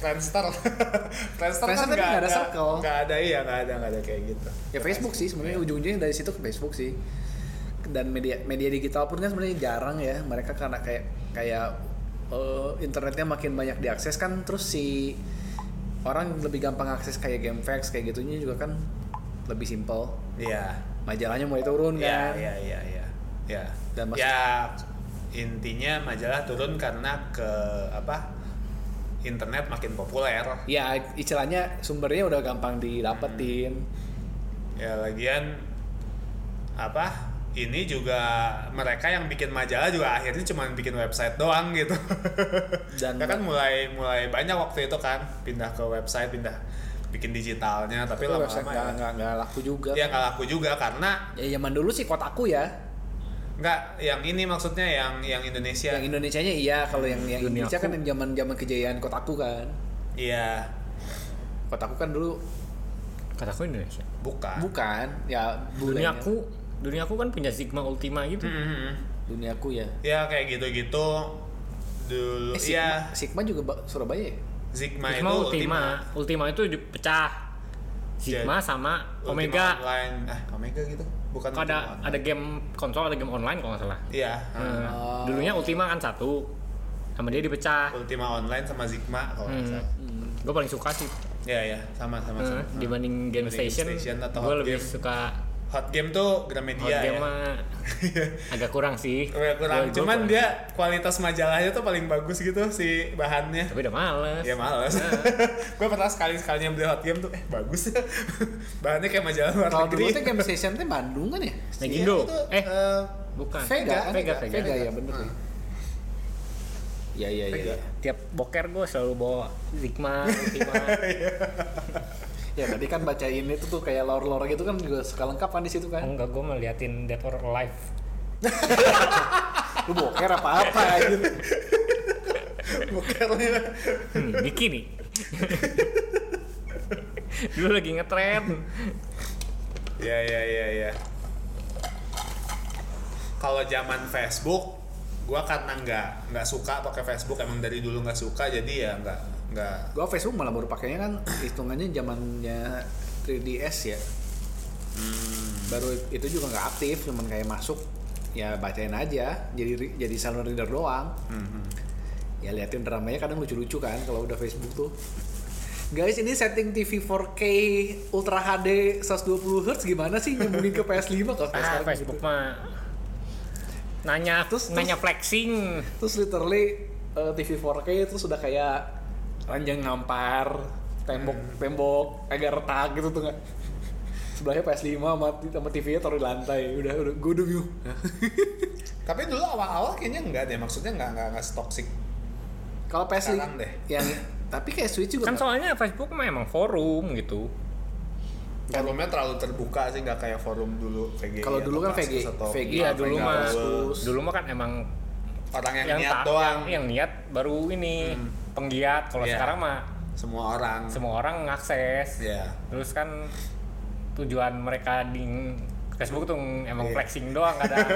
S2: Friendster.
S1: Friendster
S2: Friendster kan
S1: tapi
S2: nggak
S1: nggak ada
S2: ada
S1: circle.
S2: Nggak ada iya nggak ada nggak ada kayak gitu.
S1: ya Facebook sih sebenarnya ujung-ujungnya dari situ ke Facebook sih dan media media digital pun kan sebenarnya jarang ya mereka karena kayak kayak eh, internetnya makin banyak diakses kan terus si orang lebih gampang akses kayak game fax kayak gitunya juga kan lebih simple
S2: Iya.
S1: majalahnya mulai turun kan
S2: Iya iya iya iya. Ya.
S1: Dan mas-
S2: ya intinya majalah turun karena ke apa? Internet makin populer.
S1: ya istilahnya sumbernya udah gampang didapetin
S2: Ya lagian apa? Ini juga mereka yang bikin majalah juga akhirnya cuma bikin website doang gitu.
S1: dan
S2: Ya kan mulai mulai banyak waktu itu kan pindah ke website, pindah bikin digitalnya, tapi
S1: tapi website
S2: lama-lama
S1: nggak
S2: ya-
S1: nggak- nggak laku juga
S2: ya nggak laku juga karena
S1: ya zaman dulu sih kotaku ya
S2: Enggak, yang ini maksudnya yang yang Indonesia.
S1: Yang Indonesianya iya, kalau yang yang
S5: Dunia
S1: Indonesia
S5: aku.
S1: kan yang zaman-zaman kejayaan kotaku kan.
S2: Iya,
S1: Kotaku kan dulu
S4: Kataku Indonesia.
S2: bukan.
S1: bukan ya
S4: Dunia
S1: bulenya.
S4: aku, dunia aku kan punya Sigma Ultima gitu.
S2: Mm, mm, mm.
S1: Duniaku ya.
S2: Ya kayak gitu-gitu dulu.
S1: Eh, Sigma,
S2: Iya,
S1: Sigma juga Ba- Surabaya ya?
S2: Sigma,
S4: Sigma
S2: itu
S4: Ultima, Ultima itu ju- pecah. Sigma
S2: Jadi,
S4: sama
S2: Ultima
S4: Omega.
S2: Online. Ah, Omega gitu. Bukan
S4: Kalau
S2: Ultima
S4: ada
S2: Online.
S4: ada game konsol, ada game online kalau nggak salah.
S2: Iya.
S4: Nah,
S1: Oh.
S4: Dulunya Ultima kan satu, sama dia dipecah.
S2: ah. Ultima Online sama Sigma kalau nggak
S4: Hmm.
S2: salah.
S4: Gue paling suka sih
S2: Iya, ya, sama sama sama.
S4: eh, dibanding Game
S2: Dibanding
S4: Station,
S2: Station atau
S4: gue
S2: Hot
S4: lebih
S2: Game.
S4: suka
S2: Hot game tuh Gramedia
S4: Hot game
S2: ya.
S4: mah agak kurang sih.
S2: Kurang- kurang.
S4: Gua- gua
S2: Cuman
S4: kurang.
S2: dia kualitas majalahnya tuh paling bagus gitu si bahannya.
S4: tapi udah males.
S2: Ya males.
S4: Iya.
S2: gue pernah sekali-sekalinya beli hot game tuh, eh bagus ya. Bahannya kayak majalah luar
S1: Kalau dulu
S2: negeri.
S1: tuh game session tuh Bandung kan ya?
S4: Nagindo.
S2: Iya, itu,
S4: Eh,
S2: eh,
S4: bukan.
S1: Vega kan?
S4: Vega, Vega.
S1: Vega ya bener ya. Iya iya iya.
S4: Tiap boker gue selalu bawa Sigma, Ultima.
S1: Ya tadi kan bacain itu tuh kayak lore-lore gitu kan juga suka lengkap kan di situ
S4: Oh,
S1: kan.
S4: Enggak, gue meliatin Dead or Alive. Oh.
S1: Lu boker apa-apa anjir.
S2: Bukannya.
S4: Hmm, bikini. Dulu lagi ngetren.
S2: Ya ya ya ya. Kalau zaman Facebook, gua karena nggak nggak suka pakai Facebook emang dari dulu nggak suka jadi ya nggak nggak
S1: Gua Facebook malah baru pakainya kan hitungannya zamannya 3DS ya.
S4: Hmm.
S1: Baru itu juga nggak aktif, cuman kayak masuk ya bacain aja. Jadi ri- jadi salon reader doang.
S4: Hmm.
S1: Ya liatin dramanya kadang lucu-lucu kan kalau udah Facebook tuh. Guys, ini setting TV 4K Ultra HD 120 Hz gimana sih nyambungin ke PS5 kalau
S4: Ah,
S1: sekarang
S4: Facebook
S1: gitu.
S4: mah nanya
S1: Terus-
S4: nanya flexing
S1: Terus literally eh, TV 4K itu sudah kayak ranjang ngampar, tembok
S2: Hmm.
S1: tembok agak retak gitu tuh nggak. Sebelahnya PS5 sama, sama TV-nya taruh di lantai. Udah udah gue udah view.
S2: tapi dulu awal-awal kayaknya nggak deh maksudnya nggak nggak nggak toxic
S1: Kalau PS5
S2: Sekarang deh.
S1: yang tapi kayak Switch juga
S4: kan
S1: nggak-
S4: soalnya Facebook mah emang forum gitu
S2: forumnya terlalu terbuka sih nggak kayak forum dulu VGI
S1: Kalau dulu
S2: atau
S1: kan
S2: Kaskus
S1: VGI
S2: atau
S1: VGI
S4: Iya,
S1: apa
S4: dulu
S1: yang
S4: mah.
S1: Kaskus.
S4: dulu mah kan emang
S2: orang yang, niat
S4: tak-
S2: doang
S4: yang, yang niat baru ini penggiat kalau
S2: Iya.
S4: sekarang mah
S2: semua orang
S4: semua orang ngakses
S2: ya
S4: terus kan tujuan mereka di Facebook tuh emang
S2: Iya.
S4: flexing doang kadang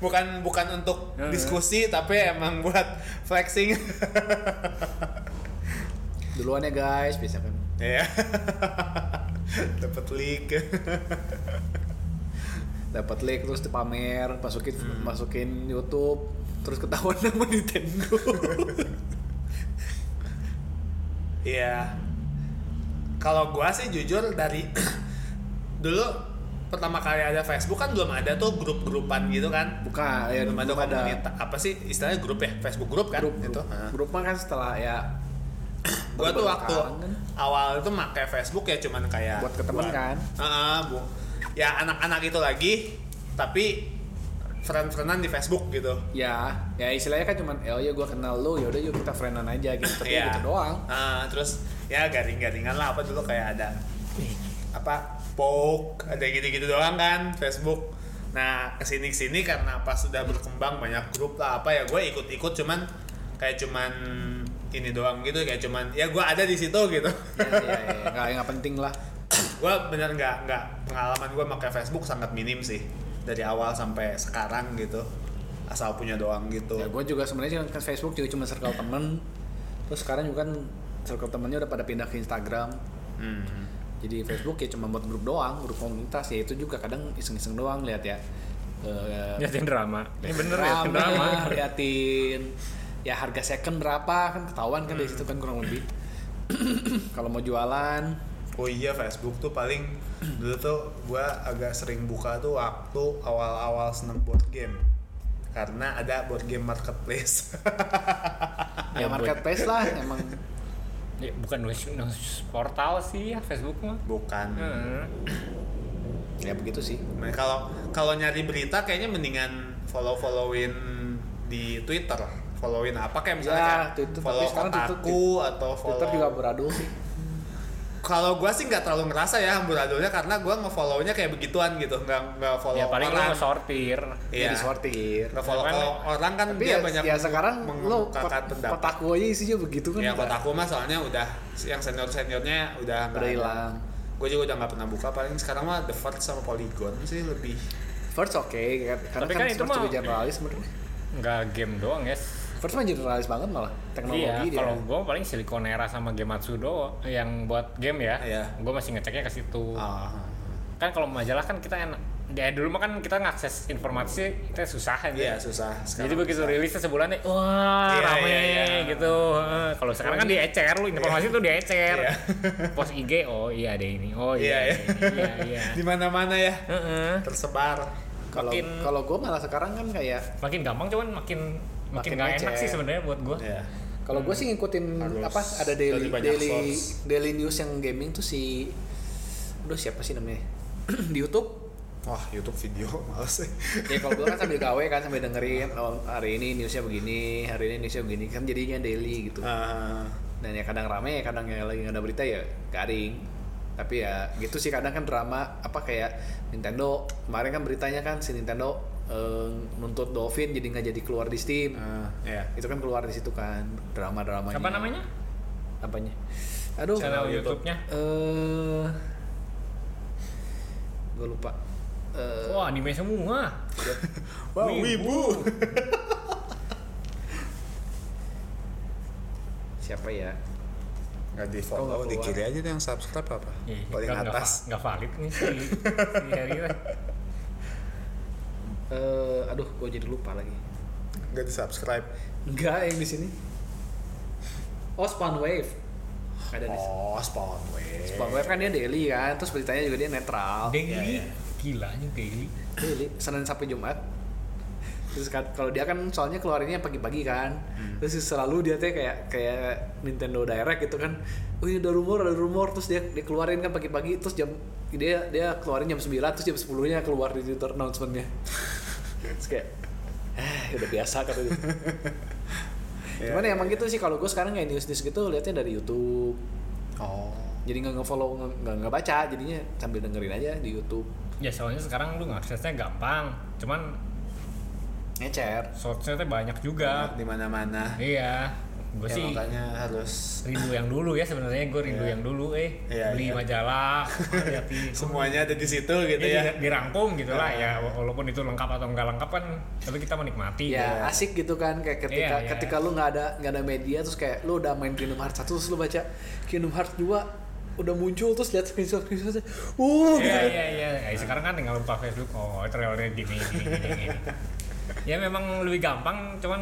S2: bukan bukan untuk
S4: Hmm.
S2: diskusi tapi emang buat flexing
S1: Duluan ya guys, bisa kan.
S2: ya dapat leak
S1: Dapat link terus dipamer, masukin
S2: Hmm.
S1: masukin YouTube, terus ketahuan nama Nintendo.
S2: Iya. Kalau gua sih jujur dari dulu pertama kali ada Facebook kan belum ada tuh grup-grupan gitu kan.
S1: Bukan, ya
S2: belum ada
S1: belum ada.
S2: komunitas. Apa sih istilahnya grup ya? Facebook grup kan
S1: grup
S2: gitu.
S1: grup,
S2: Heeh.
S1: grup mah kan setelah ya kan.
S2: Gua tuh waktu
S1: Kangen.
S2: awal itu pakai Facebook ya cuman kayak
S1: Buat ketemu kan?
S2: Heeh, bu- Ya anak-anak itu lagi tapi friend-friendan di Facebook gitu.
S1: ya ya istilahnya kan cuman oh ya gue kenal lo ya udah yuk kita friendan aja gitu tapi
S2: Iya.
S1: gitu doang
S2: Ah, terus ya garing-garingan lah apa dulu kayak ada apa poke ada gitu-gitu doang kan Facebook. Nah kesini kesini karena pas sudah berkembang banyak grup lah apa ya gue ikut-ikut cuman kayak cuman ini doang gitu kayak cuman ya gue ada di situ gitu.
S1: ya, ya, ya. nggak nggak penting lah
S2: gue bener nggak nggak pengalaman gue pakai Facebook sangat minim sih dari awal sampai sekarang gitu asal punya doang gitu.
S1: ya gue juga sebenarnya kan Facebook juga cuma circle temen terus sekarang juga kan circle temennya udah pada pindah ke Instagram
S2: Hmm.
S1: jadi Facebook ya cuma buat grup doang grup komunitas ya itu juga kadang iseng-iseng doang lihat ya Eh,
S4: liatin drama Ya, ini bener
S1: drama,
S4: liatin drama
S1: liatin ya harga second berapa kan ketahuan kan dari
S4: Hmm.
S1: situ kan kurang lebih kalau mau jualan
S2: Oh iya Facebook tuh paling dulu tuh gua agak sering buka tuh waktu awal-awal seneng board game karena ada board game marketplace.
S1: ya
S4: Ya,
S1: marketplace lah emang
S4: Ya, bukan nulis- nulis portal sih ya Facebook mah
S1: Hmm.
S2: Bukan.
S4: Heeh.
S1: ya begitu sih
S2: Nah, Kalau kalau nyari berita kayaknya mendingan follow-followin di Twitter. Followin apa kayak misalnya
S1: Ya,
S2: kayak
S1: Twitter, tapi
S2: follow
S1: sekarang Twitter-
S2: Kotaku atau follow
S1: Twitter juga beradu sih
S2: kalau gua sih nggak terlalu ngerasa ya amburadulnya karena gua ngefollownya kayak begituan gitu nggak nggak follow
S4: ya paling lu
S2: orang
S4: ngesortir
S1: Iya.
S2: Iya.
S1: disortir.
S2: ngefollow
S4: Kan-
S2: kalau orang kan
S1: Tapi
S2: dia
S1: ya,
S2: banyak
S1: ya sekarang lo
S2: mengemukakan pendapat
S1: kotaku aja isinya begitu kan.
S2: ya kotaku mah soalnya udah yang senior seniornya udah nggak
S1: Udah
S2: ada.
S1: hilang.
S2: gua juga udah nggak pernah buka paling sekarang mah the first sama polygon sih lebih
S1: First oke, kan- karena
S4: Tapi
S1: kan,
S4: kan itu
S1: First
S4: mah-
S1: juga generalis sebenarnya.
S4: nggak game doang ya
S1: First mah generalis banget malah teknologi
S4: Iya,
S1: dia.
S4: kalau gue paling Siliconera sama Gematsu doang yang buat game ya.
S2: Iya.
S4: Gue masih ngeceknya ke situ.
S2: ah,
S4: Kan kalau majalah kan kita enak. Ya dulu mah kan kita ngakses informasi kita susah kan.
S2: iya susah sekarang
S4: Jadi begitu rilisnya sebulan nih, wah
S2: Iya,
S4: rame
S2: iya, iya.
S4: gitu. Eh, Kalau sekarang kan diecer lu informasi tuh diecer.
S2: Iya.
S4: Post IG, oh iya ada ini. Oh
S2: Iya,
S4: iya. Iya, iya.
S2: di mana mana ya
S4: Heeh.
S2: tersebar
S1: Kalau
S4: makin-
S1: kalau gue malah sekarang kan kayak
S4: Makin gampang cuman makin
S1: Makin
S4: makin nggak enak
S1: ngecer.
S4: sih sebenarnya buat gue.
S2: ya
S1: kalau gue sih ngikutin
S2: Harus
S1: apa ada daily
S2: dari banyak
S1: daily
S2: source.
S1: daily news yang gaming tuh si aduh siapa sih namanya di YouTube
S2: wah YouTube video males sih
S1: ya kalau gue kan sambil gawe kan sambil dengerin oh, hari ini newsnya begini hari ini newsnya begini kan jadinya daily gitu
S2: Ah,
S1: dan ya kadang rame ya kadang yang lagi nggak ada berita ya garing tapi ya gitu sih kadang kan drama apa kayak Nintendo kemarin kan beritanya kan si Nintendo eh, nuntut Dolphin jadi nggak jadi keluar di Steam
S2: ah, ya
S1: itu kan keluar di situ kan drama dramanya
S4: Apa namanya?
S1: apanya aduh
S4: Channel
S1: eh
S4: YouTube-nya.
S1: gue lupa Eh,
S4: Wah, anime semua.
S2: Wah, wibu.
S1: siapa ya
S2: Nggak di follow,
S1: Kok nggak
S2: di
S1: keluar?
S2: kiri aja tuh yang subscribe apa?
S4: Iya,
S2: Paling atas.
S4: Gak valid nih si si Harry lah.
S1: Eh, aduh gue jadi lupa lagi
S2: Nggak di subscribe.
S1: enggak yang di sini oh Spawn Wave ada di sini
S2: Oh, spawn wave.
S1: Spawn Wave kan dia daily kan terus beritanya juga dia netral
S4: Daily.
S2: iya.
S4: Gilanya daily.
S1: daily Senin sampai Jumat terus kan- kalau dia kan soalnya keluarinnya pagi-pagi kan terus selalu dia tuh kayak kayak Nintendo Direct gitu kan oh ini ada rumor ada rumor terus dia dikeluarin kan pagi-pagi terus jam dia dia keluarin jam 9 terus jam 10 nya keluar di Twitter announcementnya terus kayak ah udah biasa kata dia cuman emang gitu sih kalau gue sekarang kayak news news gitu liatnya dari YouTube
S2: Oh.
S1: jadi nggak ngefollow nggak- nggak nggak baca jadinya sambil dengerin aja di YouTube
S4: Ya soalnya sekarang lu ngaksesnya gampang. Cuman
S1: ngecer
S4: shortsnya tuh banyak
S2: Banyak
S4: juga.
S2: di mana-mana.
S4: Iya. Gue
S2: Ya,
S4: sih
S2: makanya harus
S4: rindu yang dulu ya sebenarnya gue rindu yang dulu eh
S2: Iya,
S4: beli
S2: iya.
S4: majalah hati-hati Iya,
S2: semuanya ada di situ gitu
S4: Ini
S2: ya. Iya.
S4: di- dirangkum gitu lah ya walaupun itu lengkap atau nggak lengkap kan tapi kita menikmati
S1: ya asik gitu kan kayak ketika
S4: Iya, iya.
S1: ketika lu nggak ada nggak ada media terus kayak lu udah main Kingdom Hearts 1 terus lu baca Kingdom Hearts 2 udah muncul terus lihat screenshot screenshotnya uh gitu
S4: Iya
S1: kan.
S4: iya iya. Ya, sekarang kan tinggal buka Facebook. Oh trailernya gini gini gini. gini. ya memang lebih gampang, cuman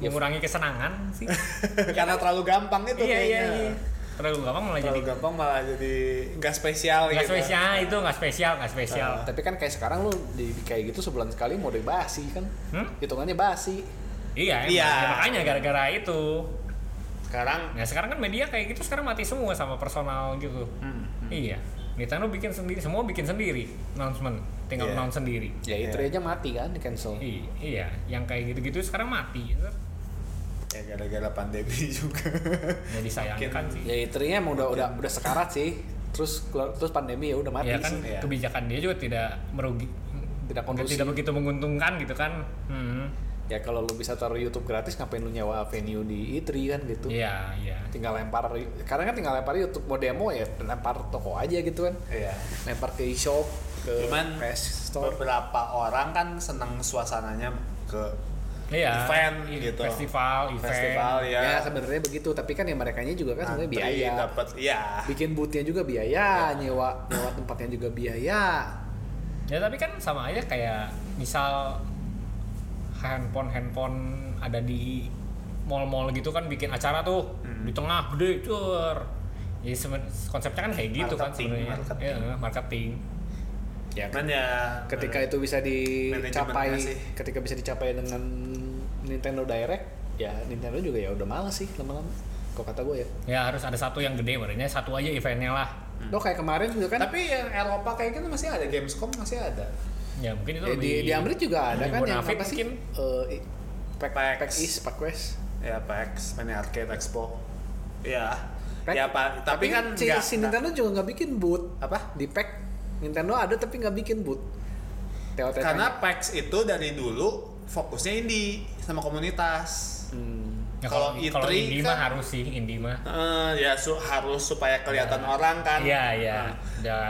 S4: mengurangi kesenangan sih.
S2: Karena terlalu gampang itu
S4: iya iya
S2: kayaknya.
S4: iya. Terlalu gampang malah
S2: Terlalu
S4: jadi
S2: gampang malah jadi nggak spesial
S4: nggak
S2: gitu.
S4: spesial itu nggak spesial nggak spesial.
S1: tapi kan kayak sekarang lu di kayak gitu sebulan sekali mode basi kan
S4: Hmm?
S1: hitungannya basi
S4: Iya, emang.
S2: Iya.
S4: Ya, makanya gara-gara itu.
S2: Sekarang
S4: Nah sekarang kan media kayak gitu sekarang mati semua sama personal gitu. Iya. Nintendo bikin sendiri, semua bikin sendiri announcement, tinggal
S2: Iya.
S4: announce sendiri.
S1: ya itu aja mati kan di cancel
S4: I- iya, yang kayak gitu-gitu sekarang mati.
S2: ya gara-gara pandemi juga.
S4: Jadi sayangkan sih.
S1: ya itu nya emang udah udah udah sekarat sih terus keluar- terus pandemi ya udah mati
S4: ya kan
S1: sih.
S2: ya.
S4: kebijakan dia juga tidak merugi
S1: tidak kondusif
S4: tidak begitu menguntungkan gitu kan hmm.
S1: ya kalau lu bisa taruh YouTube gratis ngapain lu nyewa venue di E3 kan gitu
S4: iya iya
S1: tinggal lempar karena kan tinggal lempar YouTube mau demo ya lempar toko aja gitu kan
S2: Iya.
S1: lempar ke e-shop ke
S2: Cuman
S1: PS store
S2: beberapa orang kan seneng suasananya ke
S4: iya
S2: event
S4: i-
S2: gitu.
S4: festival event
S2: festival ya.
S1: ya sebenarnya begitu tapi kan ya mereka juga kan sebenarnya
S2: Antri,
S1: biaya
S2: Ya. Dapat ya.
S1: bikin bootnya juga biaya nyewa nyewa tempatnya juga biaya
S4: ya tapi kan sama aja kayak misal handphone handphone ada di mall-mall gitu kan bikin acara tuh
S1: Hmm.
S4: di tengah gede cur ya seben- konsepnya kan kayak gitu kan
S2: Marketing,
S4: sebenarnya
S2: marketing.
S4: Ya, marketing
S1: ya
S2: Cuman ya
S1: ketika itu bisa dicapai
S2: manajemennya sih.
S1: ketika bisa dicapai dengan Nintendo Direct ya Nintendo juga ya udah males sih lama-lama kok kata gue ya
S4: ya harus ada satu yang gede barunya satu aja eventnya lah
S1: Loh kayak kemarin juga kan
S2: Hmm. tapi yang Eropa kayak gitu masih ada Gamescom masih ada
S4: ya mungkin itu
S1: Ya,
S4: lebih
S1: di, di Amrit juga ada
S4: lebih
S1: kan yang
S4: bonafit
S1: apa sih?
S4: mungkin.
S1: Eh, i- Pack,
S2: Pack.
S1: pack East, Pack West.
S2: ya PAX Mini Arcade Expo ya
S1: Pack.
S2: Ya, Pak, tapi kan
S1: si,
S2: nggak-
S1: si Nintendo juga nggak bikin boot
S2: Apa?
S1: di pack Nintendo ada tapi nggak bikin boot TOT
S2: Karena PAX itu dari dulu fokusnya indie sama komunitas.
S4: Ya,
S2: Kalau
S4: kalau
S2: E3
S4: kalau indie
S2: kan-
S4: mah harus sih indie mah.
S2: Eh, ya su- harus supaya kelihatan orang kan.
S4: Iya iya.
S2: Nah,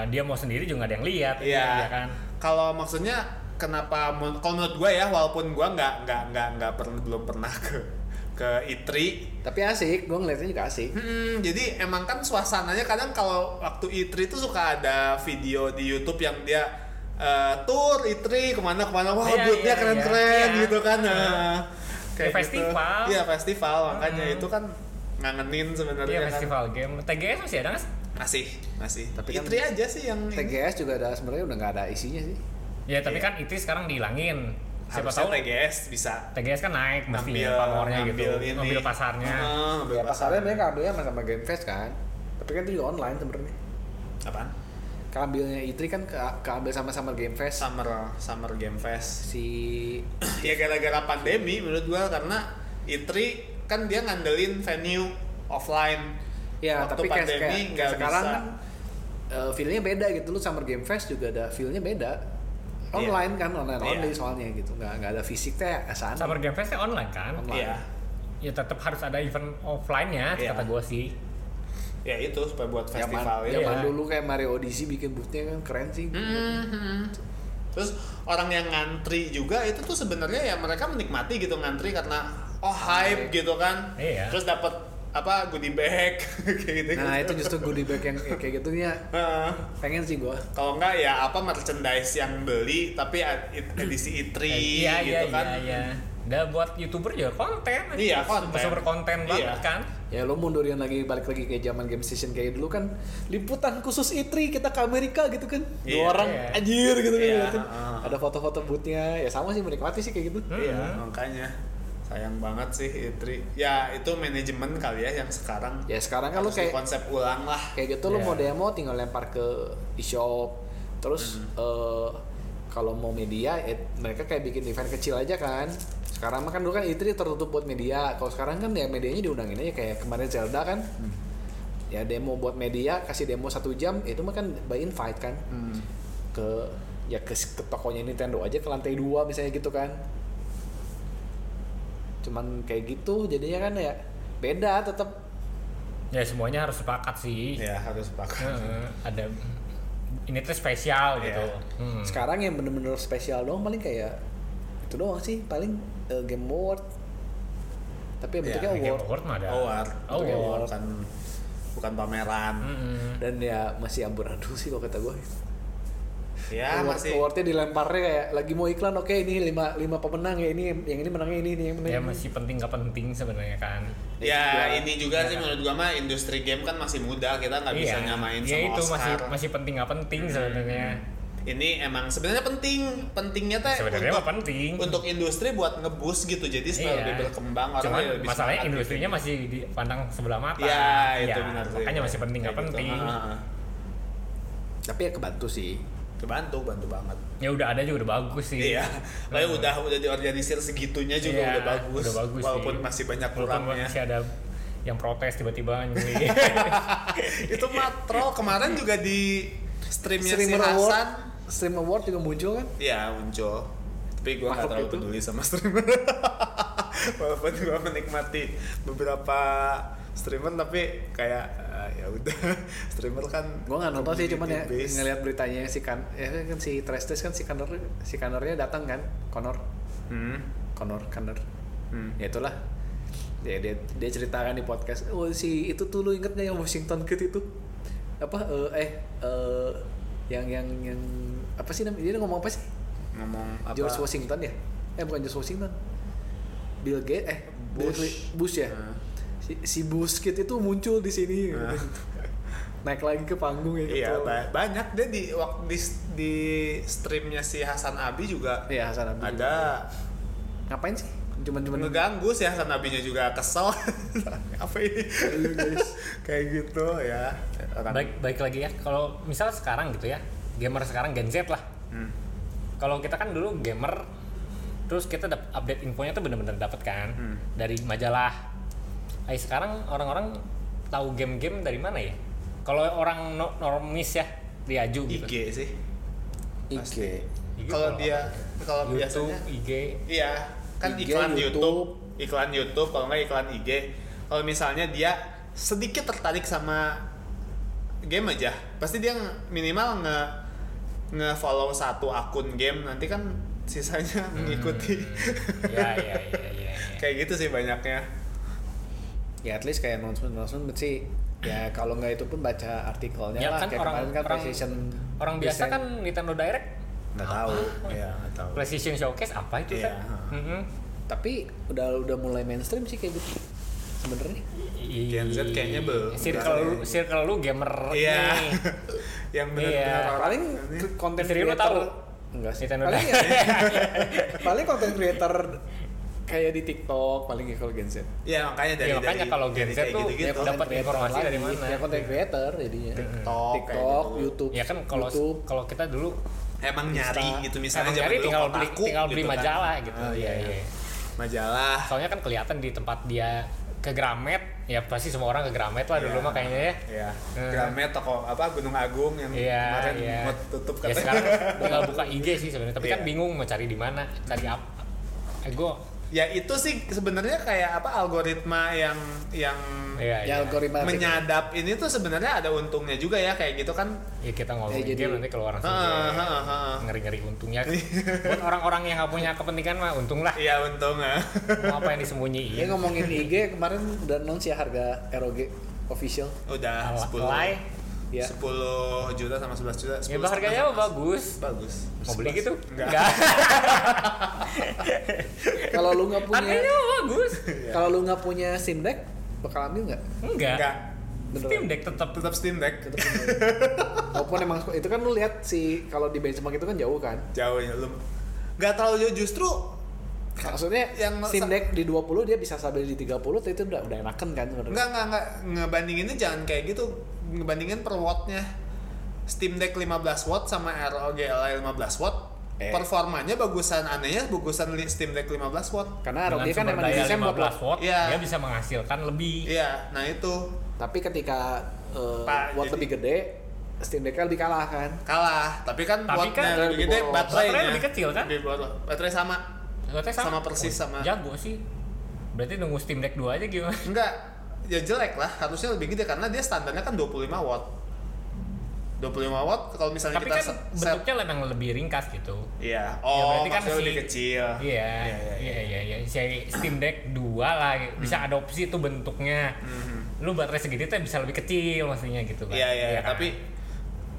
S4: Dan dia mau sendiri juga nggak ada yang lihat.
S2: Iya.
S4: ya kan.
S2: Kalau maksudnya kenapa men- kalau menurut gue ya walaupun gue nggak nggak nggak nggak pernah belum pernah ke ke E itri
S1: tapi asik gue ngeliatnya juga asik
S2: Hmm, jadi emang kan suasananya kadang kalau waktu E3 itu suka ada video di YouTube yang dia eh, tour E3 kemana-kemana, wah
S4: Iya,
S2: booth-nya
S4: iya,
S2: keren-keren
S4: iya.
S2: gitu kan.
S4: Iya.
S2: nah,
S4: Ya, festival.
S2: Gitu. Iya festival, makanya
S4: Hmm.
S2: itu kan ngangenin sebenarnya
S4: Iya
S2: kan.
S4: festival game. TGS masih ada nggak? sih?
S2: Masih, masih.
S1: Tapi kan
S2: Tapi E3 aja sih yang ini.
S1: TGS juga ada sebenarnya udah nggak ada isinya sih
S4: Ya tapi kan E3 sekarang dihilangin.
S2: Iya.
S4: Siapa
S2: Harusnya
S4: tahu
S2: TGS bisa
S4: TGS kan naik mestinya
S2: ngambil-
S4: pamornya gitu.
S2: ngambil ini.
S4: Ngambil pasarnya.
S2: Heeh, ngambil
S1: ya
S2: pasar.
S1: pasarnya mereka ambilnya sama, sama Game Fest kan tapi kan itu juga online sebenarnya
S2: Apaan?
S1: keambilnya E3 kan ke keambil sama sama Game Fest
S2: Summer Summer Game Fest.
S1: si
S2: ya gara-gara pandemi menurut gua karena Itri kan dia ngandelin venue offline.
S1: ya
S2: Waktu
S1: tapi kayak,
S2: pandemi
S1: kayak-
S2: nggak
S1: kayak sekarang
S2: bisa.
S1: kan eh, feel-nya beda gitu lu Summer Game Fest juga ada feel-nya beda online kan online
S2: Iya.
S1: only soalnya gitu nggak nggak ada fisiknya asan
S4: Summer Game Fest online kan?
S1: Online.
S2: Iya.
S4: Ya tetap harus ada event offline-nya
S2: Iya.
S4: kata gue sih.
S2: Ya itu supaya buat
S1: zaman
S2: festival ya.
S1: zaman
S4: ya.
S1: dulu kayak Mario Odyssey bikin bootnya kan keren sih
S2: Terus orang yang ngantri juga itu tuh sebenarnya ya mereka menikmati gitu ngantri karena oh hype gitu kan.
S4: Iya.
S2: Terus dapat apa goodie bag kayak gitu.
S1: nah itu justru goodie bag yang yang kayak gitu ya
S2: Heeh.
S1: pengen sih gua
S2: kalau enggak ya apa merchandise yang beli tapi ad- edisi
S4: Eh,
S2: Itri
S4: iya, iya,
S2: gitu kan.
S4: iya, iya. Dan buat youtuber juga konten.
S2: Iya, konten.
S4: Sumber konten banget
S2: Iya.
S4: kan.
S1: ya lo mundurin lagi balik lagi ke zaman game station kayak dulu kan liputan khusus E3 kita ke Amerika gitu kan dua
S2: Iya,
S1: orang
S4: iya.
S1: anjir gitu kan
S2: Iya,
S1: ngeliatin.
S2: heeh.
S1: ada foto-foto bootnya ya sama sih menikmati sih kayak gitu
S2: Iya,
S4: Hmm.
S2: makanya sayang banget sih Itri. Ya itu manajemen kali ya yang sekarang.
S1: ya sekarang kan lo
S2: harus
S1: kayak
S2: konsep ulang lah.
S1: kayak gitu lo
S4: Iya.
S1: mau demo tinggal lempar ke e-shop terus eh, kalau mau media ya mereka kayak bikin event kecil aja kan sekarang mah kan dulu kan E3 tertutup buat media kalau sekarang kan ya medianya diundangin aja kayak kemarin Zelda kan ya demo buat media kasih demo satu jam itu mah kan by invite kan
S4: Hmm.
S1: ke ya ke, ke tokonya Nintendo aja ke lantai dua misalnya gitu kan cuman kayak gitu jadinya kan ya beda tetap
S4: Ya semuanya harus sepakat sih.
S2: Ya harus pakai.
S4: Heeh, ada ini tuh
S2: Iya.
S4: spesial gitu. Hmm.
S1: Sekarang yang bener-bener spesial doang paling kayak itu doang sih paling eh, game award. Tapi yang
S2: Ya,
S1: bentuknya
S4: Iya, Game
S1: award
S4: Award mah ada.
S2: Award.
S4: Award. Hmm.
S2: Award. Bukan bukan pameran.
S4: Mm-mm.
S1: dan ya masih amburadul sih kalau kata gue.
S2: Ya
S1: award,
S2: masih.
S1: awardnya dilemparnya kayak lagi mau iklan oke ini lima lima pemenang ya ini yang ini menangnya ini ini yang menang.
S4: Ya masih penting nggak penting sebenarnya kan.
S2: Ya ini juga sih menurut gua mah industri game kan masih muda kita nggak bisa
S4: Iya.
S2: nyamain
S4: ya,
S2: sama
S4: itu
S2: Oscar. Hmm.
S4: masih masih penting nggak penting sebenarnya.
S2: Ini emang sebenarnya penting, pentingnya teh
S4: Sebenarnya
S2: untuk
S4: mah penting.
S2: untuk industri buat ngebus gitu. Jadi supaya
S4: Iya.
S2: lebih berkembang orang
S4: Cuman
S2: lebih
S4: masalahnya
S2: semangat gitu.
S4: industrinya masih dipandang sebelah mata.
S2: Ya, itu
S4: Ya,
S2: benar sih.
S4: Makanya masih penting nggak
S2: Kayak gitu.
S4: penting.
S2: Ah,
S1: Tapi ya kebantu sih.
S2: Kebantu, bantu banget.
S4: Ya udah ada juga udah bagus sih.
S2: Iya. Kayak
S4: Hmm.
S2: udah udah diorganisir segitunya juga
S4: Iya,
S2: udah bagus.
S4: udah bagus
S2: walaupun
S4: sih.
S2: masih banyak
S4: Walaupun
S2: kurangnya.
S4: masih ada yang protes tiba-tiba nyuri.
S2: Itu mah troll kemarin juga di streamnya si
S1: Streamer award,
S2: Hasan.
S1: stream award juga muncul kan?
S2: Iya, muncul. Tapi gue gak
S1: Makhluk
S2: terlalu
S1: itu.
S2: peduli sama streamer. walaupun gue menikmati beberapa streamer tapi kayak eh, ya udah streamer kan
S1: Gue nggak nonton sih cuman ya
S2: community-based.
S1: ngelihat beritanya si kan, ya kan si Trestes kan si Connor si Connornya datang kan, Connor,
S2: Hmm.
S1: Connor, Connor.
S2: Hmm.
S1: ya itulah ya dia dia ceritakan di podcast oh si itu tuh lu inget gak yang Washington Kid itu apa eh, eh eh, yang yang yang apa sih namanya dia ngomong apa sih
S2: Ngomong apa?
S1: George Washington ya eh bukan George Washington Bill Gates eh Bill
S2: Bush.
S1: Cli- Bush ya
S2: Nah.
S1: si, si Bush Kid itu muncul di sini
S2: Nah.
S1: naik lagi ke panggung ya
S2: Iya
S1: gitu.
S2: ba- banyak dia di waktu di, di streamnya si Hasan Abi juga
S1: Iya, Hasan Abi juga.
S2: ada
S1: ngapain sih cuman cuman
S2: mengganggu sih Hasan Abinya juga kesel apa ini kayak gitu ya Orang-
S4: baik baik lagi ya kalau misal sekarang gitu ya gamer sekarang Gen Z lah
S2: Hmm.
S4: kalau kita kan dulu gamer terus kita dap- update infonya tuh bener-bener dapet kan
S2: Hmm.
S4: dari majalah Ay, sekarang Eh, orang-orang tahu game-game dari mana ya? Kalau orang no- normis ya diaju gitu.
S2: IG sih
S1: IG.
S4: IG
S2: kalau dia kalau
S4: YouTube,
S2: biasanya
S4: IG.
S2: Iya, kan
S1: IG,
S2: iklan YouTube,
S1: YouTube.
S2: iklan YouTube kalau nggak iklan IG. Kalau misalnya dia sedikit tertarik sama game aja, pasti dia nge- minimal nge nge-follow satu akun game nanti kan sisanya mengikuti.
S4: Ya ya ya ya. ya.
S2: Kayak gitu sih banyaknya.
S1: Ya at least kayak announcement announcement sih ya kalau nggak itu pun baca artikelnya
S4: Ya
S1: lah
S4: kan
S1: kayak
S4: orang
S1: kemarin kan
S4: orang,
S1: PlayStation
S4: orang biasa
S1: desain.
S4: kan Nintendo Direct,
S2: Nggak tahu. Iya, nggak tahu.
S4: PlayStation Showcase apa itu
S2: Iya.
S4: kan? Mhm.
S1: tapi udah udah mulai mainstream sih kayak gitu sebenarnya
S2: Gen Z kayaknya belum.
S4: Circle lu, circle lu gamer
S2: Iya.
S4: nih.
S2: Yang benar
S4: Iya.
S1: paling
S2: nah,
S1: konten
S4: Istri lu tahu
S1: enggak sih
S4: Nintendo
S1: paling, ya,
S4: Direct.
S1: paling konten creator kayak di TikTok paling ya kalau Gen Z
S2: Iya, makanya dari
S4: Iya, makanya
S2: dari-
S4: kalau Gen
S2: dari
S4: Z
S2: kayak
S4: tuh
S2: gitu-gitu.
S4: ya,
S1: konten
S4: Dapat
S1: creator
S4: informasi
S1: lagi.
S4: dari mana?
S1: ya konten creator jadinya
S2: Gitu. TikTok, kayak
S1: TikTok
S2: gitu.
S1: YouTube
S4: ya kan kalau
S1: YouTube
S4: kalau kita dulu
S2: emang nyari
S1: Insta.
S2: gitu misalnya
S4: Emang
S2: zaman
S4: nyari
S2: dulu
S4: tinggal beli-
S2: kotaku
S4: tinggal beli
S2: kan.
S4: majalah gitu.
S2: Oh, iya,
S4: Iya,
S2: iya.
S4: iya.
S2: majalah
S4: soalnya kan kelihatan di tempat dia ke Gramet ya pasti semua orang ke Gramet lah dulu
S2: Iya.
S4: mah kayaknya ya
S2: ya
S4: Hmm.
S2: Gramet toko apa Gunung Agung yang
S4: Iya,
S2: kemarin
S4: iya.
S2: mau tutup katanya
S4: ya sekarang tinggal buka IG sih sebenarnya tapi
S2: Iya.
S4: kan bingung mau cari di mana cari apa eh gue
S2: ya itu sih sebenarnya kayak apa algoritma yang yang
S4: ya,
S1: ya algoritma
S2: menyadap ini tuh sebenarnya ada untungnya juga ya kayak gitu kan
S4: ya kita
S1: Ya,
S4: ngomongin
S1: jadi-
S4: game nanti keluar langsung
S2: Heeh, heeh, heeh.
S4: ngeri ngeri untungnya buat orang-orang yang nggak punya kepentingan mah untung lah
S2: iya untung ya
S4: mau apa yang
S1: ya
S4: disembunyiin
S1: ngomongin IG kemarin udah announce ya harga ROG official
S2: udah
S4: Al-
S2: sepuluh
S4: Lai.
S1: ya
S4: Iya.
S2: 10 juta sama 11 juta
S4: ya
S2: 10
S4: harganya mah bagus
S2: bagus
S4: mau beli gitu
S2: Enggak.
S1: kalau lu nggak punya Iya.
S4: harganya mah bagus
S1: kalau lu nggak punya Steam Deck bakal ambil nggak
S4: enggak
S2: enggak
S1: Beneran.
S4: Steam Deck tetap
S2: tetap Steam Deck
S1: Walaupun emang itu kan lu lihat si kalau di benchmark itu kan jauh kan.
S2: jauh ya lu nggak terlalu jauh justru
S1: Maksudnya yang
S2: Yang
S1: Steam
S2: sa-
S1: Deck di 20 dia bisa sampai di 30 tuh itu udah udah enakan kan sebenarnya.
S2: Enggak, enggak, enggak. Ngebandinginnya jangan kayak gitu. Ngebandingin per wattnya. Steam Deck 15 watt sama ROG Ally 15 watt.
S1: Eh.
S2: Performanya bagusan anehnya bagusan li- Steam Deck 15 watt.
S1: Karena ROG kan
S4: Dengan sumber
S1: emang
S4: daya
S1: didesain buat
S4: 15 watt,
S2: Iya.
S4: dia bisa menghasilkan lebih.
S2: Iya, nah itu
S1: Tapi ketika eh,
S2: Pak,
S1: watt
S2: jadi-
S1: lebih gede, Steam Deck lebih kalah kan.
S2: kalah. Tapi kan
S4: Tapi
S2: wattnya
S4: kan
S2: lebih gede,
S1: boros.
S2: baterainya.
S4: Baterainya lebih kecil, kan?
S2: Lebih boros. Baterai sama.
S4: Ternyata
S2: Sama persis, sama.
S4: Jago sih. Berarti nunggu Steam Deck 2 aja gimana?
S2: Enggak, ya jelek lah. Harusnya lebih gede karena dia standarnya kan 25 watt. 25 watt kalau misalnya
S4: Tapi
S2: kita
S4: kan
S2: set, set-
S4: bentuknya memang lebih ringkas gitu.
S2: Iya.
S4: Ya,
S2: Oh,
S4: berarti kan
S2: maksudnya
S4: si-
S2: lebih kecil.
S4: Iya,
S2: Iya, iya, iya. Hmm.
S4: iya, iya, iya. Si Steam Deck 2 lah gitu. bisa adopsi tuh bentuknya.
S2: Mhm.
S4: Lu baterai segede tuh bisa lebih kecil maksudnya gitu kan.
S2: Iya iya,
S4: kan?
S2: tapi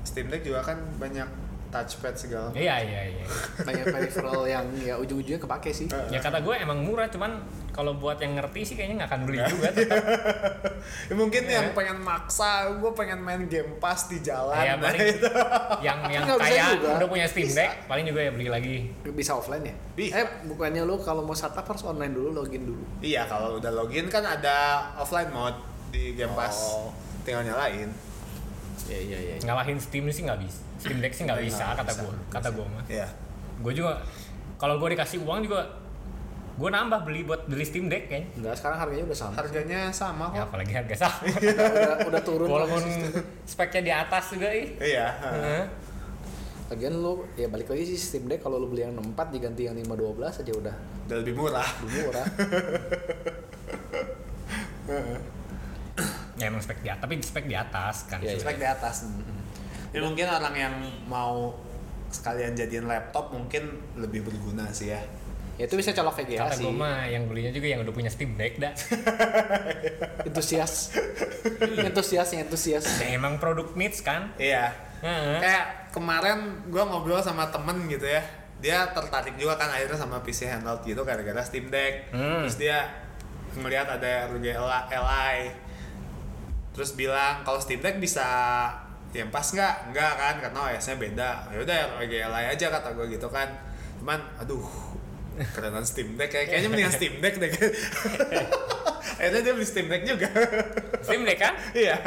S2: Steam Deck juga kan banyak touchpad segala.
S4: Iya, iya, iya.
S1: Banyak peripheral yang ya ujung-ujungnya kepake sih.
S4: ya kata gue emang murah cuman kalau buat yang ngerti sih kayaknya nggak akan beli juga tetap.
S2: Ya, mungkin yang pengen maksa, gue pengen main Game Pass di jalan.
S4: ya
S2: nah,
S4: paling
S2: itu.
S4: yang yang
S1: Nggak bisa
S4: kaya
S1: juga.
S4: udah punya Steam Deck paling juga ya beli lagi.
S1: Bisa offline ya?
S2: Bisa.
S1: Eh, bukannya lu kalau mau startup harus online dulu, login dulu.
S2: Iya kalau udah login kan ada offline mode di Game Pass. Tinggal nyalain.
S1: Iya, iya, iya.
S4: ngalahin Steam sih nggak bisa Steam Deck sih nggak
S2: Nggak
S4: bisa
S2: bisa,
S4: kata
S2: bisa,
S4: gue
S2: nggak
S4: kata gue mah
S2: Iya.
S4: gue juga kalau gue dikasih uang juga gue nambah beli buat beli Steam Deck kan
S1: Enggak, sekarang harganya udah sama.
S2: Harganya sama
S4: ya
S2: kok.
S4: apalagi harga sama
S1: udah, udah Oh. turun.
S4: walaupun
S1: lah.
S4: speknya di atas juga ih
S2: Iya.
S4: Heeh.
S1: Lagian lu ya balik lagi sih Steam Deck kalau lu beli yang 4 diganti yang 512 aja udah
S2: Udah lebih murah.
S1: lebih murah.
S4: ya emang spek di atas tapi spek di atas kan
S1: Iya, iya.
S2: Spek di atas. Ya, mungkin orang yang mau sekalian jadiin laptop mungkin lebih berguna sih ya.
S1: ya itu bisa colok VGA
S4: kata
S1: sih.
S4: gue mah yang belinya juga yang udah punya Steam Deck dah
S1: Entusias. entusias, yang entusias.
S4: Ya, emang produk niche kan
S2: Iya.
S4: Heeh.
S2: kayak kemarin gua ngobrol sama temen gitu ya dia tertarik juga kan akhirnya sama PC handheld gitu gara-gara Steam Deck
S4: Hmm.
S2: terus dia ngelihat ada ROG Ally terus bilang kalau Steam Deck bisa yang pas nggak nggak kan karena OS-nya beda ya udah ROG Ally aja kata gua gitu kan cuman aduh kerenan Steam Deck kayak kayaknya mendingan Steam Deck deh akhirnya dia beli Steam Deck juga
S4: Steam Deck kan
S2: iya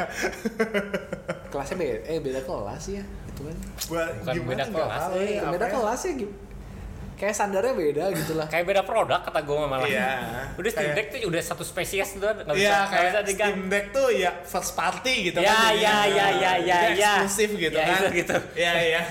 S1: Kelasnya beda, eh beda kelas ya, itu kan.
S2: Gua
S4: Bukan
S2: gimana
S4: beda
S2: nggak
S4: kelas,
S2: tahu
S4: eh,
S2: ya,
S1: beda
S2: apa ya.
S1: kelas ya gitu. kayak standarnya beda gitu lah
S4: kayak beda produk kata gue malah
S2: Iya.
S4: udah Steam
S2: Kayak-
S4: Deck tuh udah satu spesies tuh nggak bisa
S2: Iya,
S4: nggak bisa
S2: kayak
S4: diganti
S2: Steam Deck tuh ya first party gitu
S4: Ya,
S2: kan.
S4: ya, ya, ya, ya,
S2: Jadi
S4: ya.
S2: Eksklusif gitu
S4: Ya,
S2: kan.
S4: itu gitu.
S2: Iya, iya.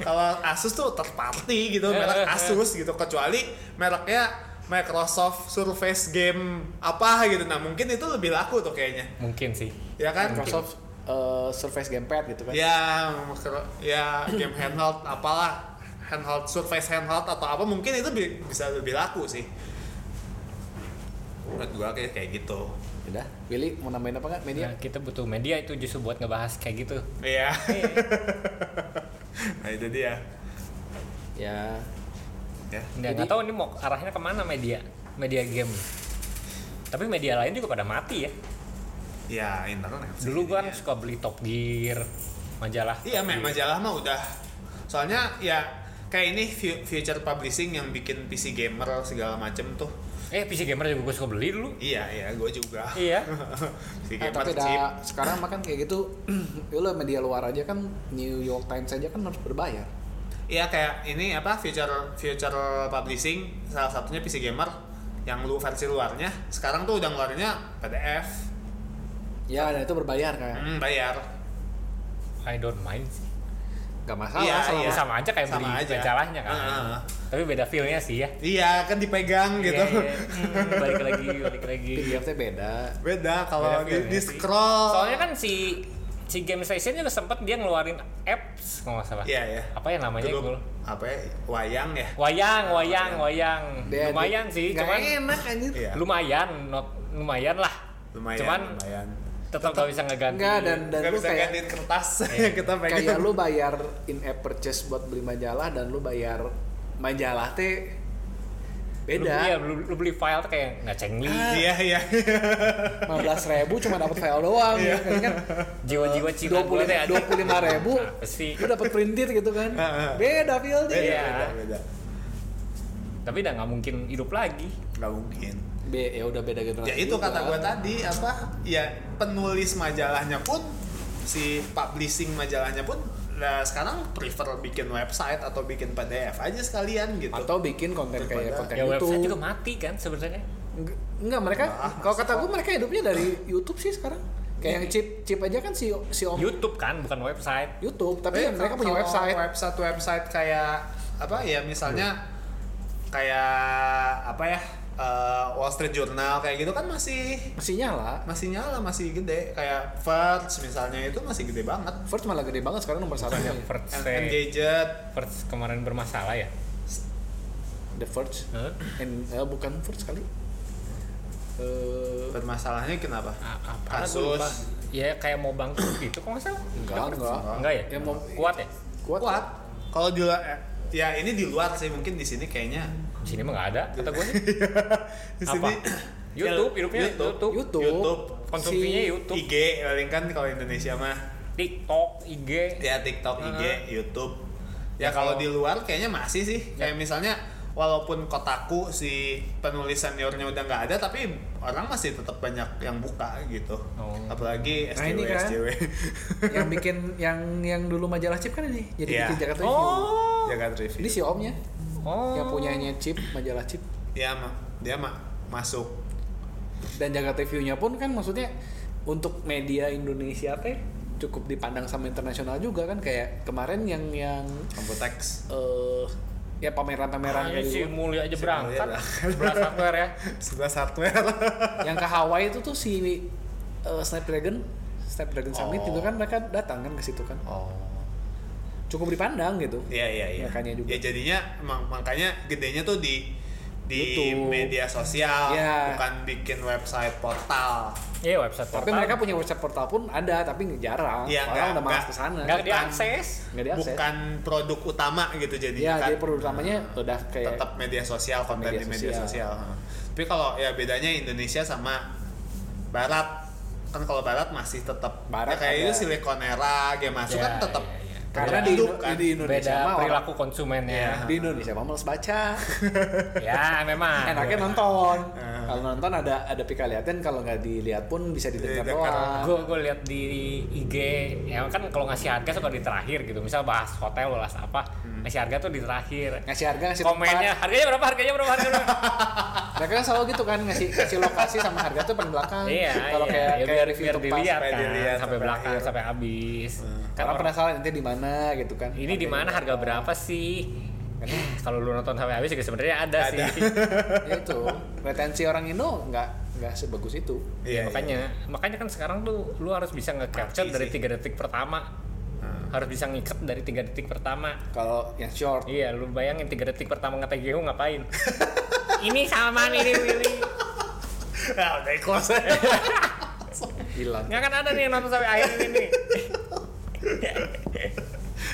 S2: Kalau Asus tuh third party
S4: Eh,
S2: gitu, merek Asus gitu kecuali mereknya Microsoft Surface game apa gitu. Nah, mungkin itu lebih laku tuh kayaknya.
S4: mungkin sih
S2: Ya kan?
S1: Microsoft eh, Surface Gamepad gitu
S4: Iya.
S1: kan
S2: Ya, micro- ya game handheld apalah handheld Surface handheld atau apa mungkin itu bi- bisa lebih laku sih. Menurut gua kayak kayak gitu.
S1: udah Willy mau nambahin apa nggak media
S4: Nah, kita butuh media itu justru buat ngebahas kayak gitu
S2: Iya. nah, itu dia.
S1: ya
S2: Ya.
S4: nggak nggak tahu ini mau arahnya kemana media media game tapi media lain juga pada mati ya
S2: Ya, internet. sih
S4: dulu gua kan
S2: jadinya.
S4: suka beli Top Gear majalah
S2: Iya,
S4: Top
S2: mem
S4: Gear.
S2: majalah mah udah. Soalnya ya kayak ini fu- future publishing yang bikin PC gamer segala macem tuh.
S4: eh PC gamer juga gua suka beli dulu
S2: Iya, iya, gue juga.
S4: Iya.
S2: PC
S1: Ah,
S2: gamer
S1: tapi
S2: cheap.
S1: dah sekarang makan kayak gitu ya lo media luar aja kan New York Times aja kan harus berbayar
S2: Iya kayak ini apa future future publishing salah satunya PC gamer yang lu versi luarnya sekarang tuh udah ngeluarinnya PDF
S1: ya dan itu berbayar kan
S2: hmm, bayar
S4: I don't mind sih
S1: nggak masalah
S2: Iya,
S1: selama-
S2: iya.
S4: sama aja kayak
S2: Sama
S4: beli
S2: aja.
S4: majalahnya kan
S2: Heeh.
S4: tapi beda feelnya sih ya
S2: iya kan dipegang gitu
S4: Iya, iya. Hmm, balik lagi balik lagi
S1: PDF -nya beda
S2: beda kalau
S4: Beda
S2: di,
S4: feelnya
S2: di
S4: sih.
S2: scroll
S4: soalnya kan si si game station juga sempet dia ngeluarin apps kalau nggak salah
S2: Iya, iya.
S4: apa ya namanya
S2: Itu
S4: gue
S2: apa ya, wayang ya
S4: wayang wayang wayang
S1: Dia-
S4: lumayan
S1: dia-
S4: sih
S1: nggak
S4: cuman
S1: enak anjir
S2: Iya.
S4: lumayan not, lumayan lah
S2: lumayan
S4: cuman
S2: lumayan
S4: tetap gak bisa ngeganti
S1: enggak dan dan
S2: nggak
S1: lu
S2: bisa gitu.
S1: kayak
S2: gantiin kertas yang kita pegang
S1: kayak lu bayar in app purchase buat beli majalah dan lu bayar majalah teh
S4: lu, iya,
S1: beda Ah,
S4: lu, lu beli file tuh kayak nggak cengli
S2: iya iya
S1: 15.000 ribu cuma dapat file doang ya kan
S4: jiwa-jiwa Cina
S1: dua
S4: gua
S1: puluh
S4: teh ada. Nah,
S1: lima ribu
S4: Apa sih?
S1: lu dapat printed gitu kan
S2: Heeh.
S1: beda feelnya
S2: beda
S4: Iya.
S2: beda beda
S4: tapi udah nggak mungkin hidup lagi
S2: nggak mungkin
S1: Be- ya udah beda generasi
S2: ya itu
S1: juga.
S2: kata gue tadi apa ya penulis majalahnya pun si publishing majalahnya pun nah sekarang prefer bikin website atau bikin PDF aja sekalian gitu
S1: atau bikin konten kayak
S2: Daripada-
S1: konten
S4: ya website
S1: YouTube
S4: juga mati kan sebenarnya
S1: Eng- enggak mereka
S2: Nah,
S1: kalau kata gue mereka hidupnya dari YouTube sih sekarang kayak
S2: Iya.
S1: yang chip chip aja kan si si om
S4: YouTube kan bukan website
S1: YouTube tapi
S2: Eh,
S1: mereka punya
S2: kalau
S1: website
S2: website website kayak apa ya misalnya kayak apa ya eh, Wall Street Journal kayak gitu kan masih
S1: masih nyala
S2: masih nyala masih gede kayak Verge misalnya itu masih gede banget
S1: First malah gede banget sekarang nomor satu
S2: Iya,
S4: first,
S2: Engadget
S4: first kemarin bermasalah ya
S1: The First
S4: Hah?
S1: and eh, bukan First kali eh
S2: bermasalahnya kenapa
S4: A- apa?
S2: kasus
S4: Gua lupa. ya kayak mau bangkrut gitu kok nggak salah
S1: enggak enggak
S4: enggak ya,
S1: Ya, mau-
S4: kuat ya
S1: kuat,
S2: kuat kalau di luar eh, ya ini di luar sih mungkin di sini kayaknya
S4: di sini mah nggak ada kata gue sih
S2: di Ya,
S4: Apa? YouTube hidupnya YouTube,
S2: YouTube,
S1: YouTube.
S2: YouTube.
S4: konsumsinya
S1: Si
S4: YouTube
S2: IG paling kan kalau Indonesia mah
S4: TikTok IG
S2: ya TikTok IG
S4: Ah.
S2: YouTube ya kalau di luar kayaknya masih sih
S4: Ya.
S2: kayak misalnya walaupun kotaku si penulis seniornya udah nggak ada tapi orang masih tetap banyak yang buka gitu
S4: Oh.
S2: apalagi
S1: Nah, ini
S2: SJW
S1: kan.
S2: SJW
S1: yang bikin yang yang dulu majalah chip kan ini jadi
S2: Iya.
S1: bikin Jakarta Review
S4: oh
S2: Jakarta
S1: ini
S2: Review
S1: si omnya
S4: oh
S1: yang punyanya chip majalah chip
S2: ya ma dia ma masuk
S1: dan Jakarta Review-nya pun kan maksudnya untuk media Indonesia teh cukup dipandang sama internasional juga kan kayak kemarin yang yang
S2: Computeks
S1: eh ya
S2: Ah,
S1: pameran-pameran
S2: iya,
S4: Makanya
S1: kayak
S4: si
S1: gitu
S4: mulia aja
S2: Si
S4: berangkat
S2: Mulia
S4: berat hardware ya
S2: sebelah hardware
S1: yang ke Hawaii itu tuh si eh, Snapdragon Snapdragon Summit
S2: Oh.
S1: juga kan mereka datang kan ke situ kan
S2: oh
S1: cukup dipandang gitu
S2: Iya iya iya.
S1: Makanya juga.
S2: Ya jadinya emang- makanya gedenya tuh di di
S1: YouTube.
S2: media sosial
S1: Iya.
S2: bukan bikin website portal.
S4: iya website
S1: tapi
S4: portal.
S1: mereka punya website portal pun ada tapi jarang
S2: Iya,
S1: orang
S2: nggak-
S1: udah malas
S2: nggak-
S1: ke sana
S4: nggak
S1: nggak
S4: diakses
S1: diakses
S2: Bukan produk utama gitu
S1: ya
S2: jadinya kan.
S1: jadi produk utamanya udah kayak
S2: tetap media sosial konten
S1: Media
S2: di media
S1: sosial.
S2: sosial. Heeh. Tapi kalau ya bedanya Indonesia sama barat kan kalau barat masih tetap
S1: Barat
S2: ya kayak
S1: ada. Iya,
S2: itu Siliconera, Gematsu
S4: Ya,
S2: kan tetap
S4: ya, ya.
S1: Karena di,
S2: hidup, kan?
S1: di Indonesia
S4: beda
S1: mah orang- Iya.
S4: perilaku konsumennya.
S1: di Indonesia mah males baca.
S4: Ya, memang.
S1: Enaknya nonton. Kalau nonton ada ada pika liatin, kalau nggak dilihat pun bisa didengar
S2: Didengar.
S1: doang.
S4: gue gue lihat di IG ya kan kalau ngasih harga suka di terakhir gitu misal bahas hotel bahas apa ngasih harga tuh di terakhir
S1: Ngasih harga, Hmm. ngasih
S4: komennya harganya berapa harganya berapa harganya berapa
S1: tempat. Mereka kan selalu gitu kan ngasih ngasih lokasi sama harga tuh paling belakang.
S4: iya
S1: Kalau kayak
S4: iya. Ya,
S1: kayak
S4: biar,
S1: review
S4: biar
S1: tempat.
S4: dilihat
S2: sampai
S4: kan
S2: dilihat
S4: sampai
S2: sampai
S4: belakang
S2: akhir.
S4: sampai habis
S1: Karena
S4: Karena
S1: penasaran nanti di mana gitu kan.
S4: ini di mana harga berapa sih Eh, kalau lu nonton sampai habis juga sebenarnya ada,
S2: Ada.
S4: sih Iya,
S1: Ya itu retensi orang Indo nggak nggak sebagus itu.
S2: Iya,
S4: Ya, makanya makanya kan sekarang tuh lu harus bisa nge-capture
S2: Mati
S4: dari
S2: sih.
S4: tiga detik pertama
S1: Hmm.
S4: harus bisa ngikat dari tiga detik pertama
S1: Kalau yang short
S4: Iya, lu bayangin 3 detik pertama ngetek Gehu ngapain? ini sama ini ini.
S2: Nah, udah ikhlas
S1: hilang.
S4: Nggak kan ada nih yang nonton sampai akhir ini nih.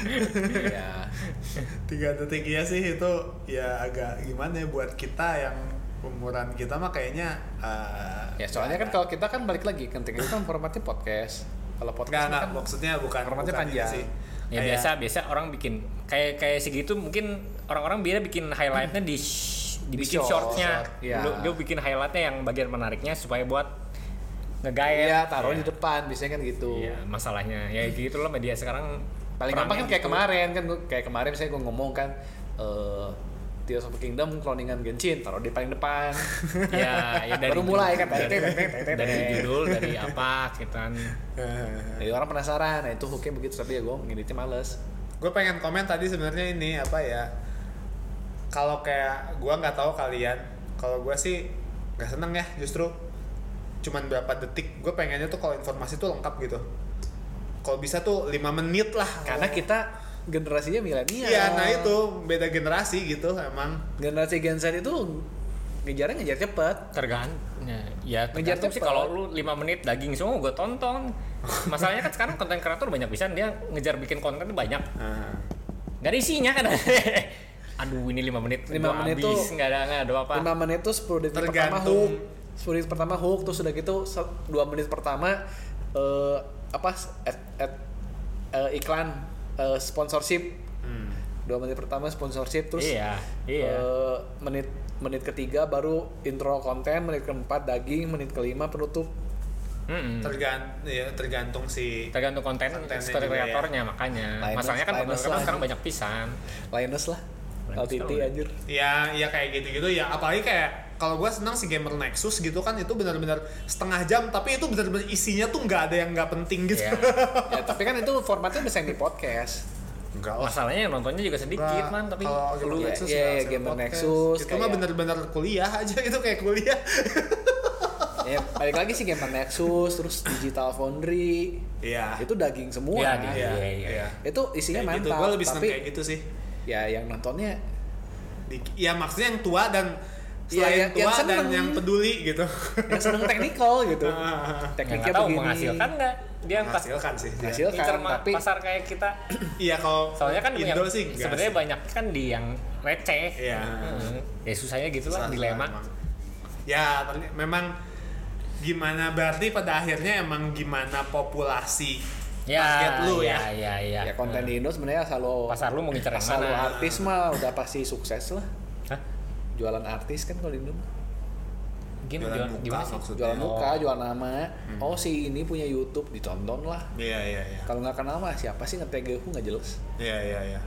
S1: Iya.
S2: tiga detik ya sih itu ya agak gimana ya buat kita yang umuran kita mah kayaknya eh,
S1: Ya soalnya kan kalau kita kan balik lagi kan kita kan formatnya podcast. Kalau
S2: nggak
S1: podcast
S2: nggak
S1: kan
S2: maksudnya bukan
S1: formatnya
S2: bukan ini
S1: panjang.
S2: sih.
S4: Ya
S1: Iya.
S2: Kayak-
S4: biasa biasa orang bikin kayak kayak segitu mungkin orang-orang biasa bikin highlightnya di sh- dibikin
S1: short,
S4: shortnya.
S1: short, iya.
S4: Lu- Dia bikin highlightnya yang bagian menariknya supaya buat ngegaet.
S1: Iya, taruh di depan biasanya kan gitu.
S4: ya. Iya, masalahnya ya gitu loh media sekarang
S1: Paling
S4: perangnya
S1: gampang kan kayak
S4: gitu.
S1: kemarin kan gua, kayak kemarin saya gue ngomong kan eh Tears of the Kingdom cloningan Genshin taruh di paling depan.
S4: ya, ya dari
S1: Baru mulai kan.
S4: dari, dari judul dari apa gitu kan
S2: Eh,
S1: Jadi orang penasaran, nah itu hooknya begitu tapi ya gue ngeditnya males.
S2: gue pengen komen tadi sebenarnya ini apa ya kalau kayak gue nggak tahu kalian kalau gue sih nggak seneng ya justru cuman berapa detik gue pengennya tuh kalau informasi tuh lengkap gitu kalau bisa tuh lima menit lah
S1: Karena kita generasinya milenial.
S2: iya nah itu beda generasi gitu emang
S1: Generasi Gen Z itu ngejarnya ngejar cepet.
S4: tergantung ya
S1: Ngejar
S4: tergantung sih
S1: cepat.
S4: kalau lu 5 menit daging semua gue tonton masalahnya kan sekarang konten kreator banyak bisa dia ngejar bikin konten tuh banyak
S2: Nah,
S4: nggak ada isinya kan aduh ini 5 menit
S1: Lima
S4: gua
S1: menit
S4: habis,
S1: tuh
S4: nggak ada nggak ada apa
S1: 5 menit tuh 10 detik pertama
S2: Tergantung.
S1: hook 10 detik pertama hook terus udah gitu 2 menit pertama eh, apa ad, ad- eh, iklan eh, sponsorship 2 menit pertama sponsorship terus
S4: iya iya
S1: eh, menit menit ketiga baru intro konten menit keempat daging menit kelima penutup Oh.
S4: Mm-mm.
S2: tergan ya, tergantung si
S4: tergantung konten
S2: Kontennya
S4: story
S2: juga ya.
S4: kreatornya makanya
S1: Linus-
S4: masalahnya kan
S1: Linus
S4: konten kreator
S1: lah.
S4: sekarang banyak pisan
S1: Linus lah
S4: Linus
S1: LTT
S4: tahu.
S1: anjir
S2: ya ya kayak gitu-gitu ya apalagi kayak kalau gue senang si gamer Nexus gitu kan itu benar-benar setengah jam tapi itu benar-benar isinya tuh nggak ada yang nggak penting gitu
S4: ya.
S1: ya tapi kan itu formatnya bisa yang di podcast
S2: enggak
S4: masalahnya yang nontonnya juga sedikit
S1: Nah,
S4: man tapi
S2: kalau Gamer
S1: Iya,
S2: Nexus
S1: iya, iya,
S2: nggak usah
S1: Gamer
S2: podcast.
S1: Nexus,
S2: itu mah
S1: kayak-
S2: bener-bener kuliah aja itu kayak kuliah
S1: ya balik lagi sih gamer Nexus terus Digital Foundry Nah,
S2: iya
S1: itu daging semua
S4: Iya,
S1: kan?
S4: iya.
S1: itu isinya
S2: Kayak gitu.
S1: mantap
S2: gue lebih seneng
S1: tapi
S2: kayak gitu sih
S1: ya yang nontonnya
S2: Di- ya maksudnya yang tua dan
S1: Iya,
S2: selain
S1: yang- yang
S2: tua dan
S1: seneng. Iya,
S2: yang peduli gitu
S1: yang seneng teknikal gitu
S4: ya
S1: tekniknya
S4: nggak tahu
S1: begini
S4: menghasilkan nggak dia pas
S2: menghasilkan sih dia.
S1: Hasil.
S4: incer ma-
S1: tapi-
S4: pasar kayak kita
S2: iya kalau
S4: soalnya kan
S2: Indo
S4: yang
S2: sih nggak
S4: sebenarnya
S2: sih.
S4: banyak kan di yang receh
S2: Iya.
S4: Heeh. ya susahnya gitu lah
S2: Salah
S4: dilema
S2: emang. Ya, terny- memang gimana berarti pada akhirnya emang gimana populasi
S4: ya
S2: target lu
S4: ya
S2: ya.
S4: ya
S1: ya
S4: ya,
S1: konten di Indo sebenarnya asal lo
S4: pasar lu mau ngincer yang
S1: asal lo
S4: mana
S1: artis mah udah pasti sukses lah
S4: Hah?
S1: jualan artis kan kalau di Indo mah.
S4: Gini,
S2: Jualan
S4: jualan,
S2: muka
S4: gimana sih?
S2: maksudnya.
S1: jualan
S4: Oh.
S1: muka jualan nama oh si ini punya YouTube ditonton lah
S2: Iya, iya, iya.
S1: kalau nggak kenal mah siapa sih ngetag aku nggak jelas
S2: Iya, iya, iya.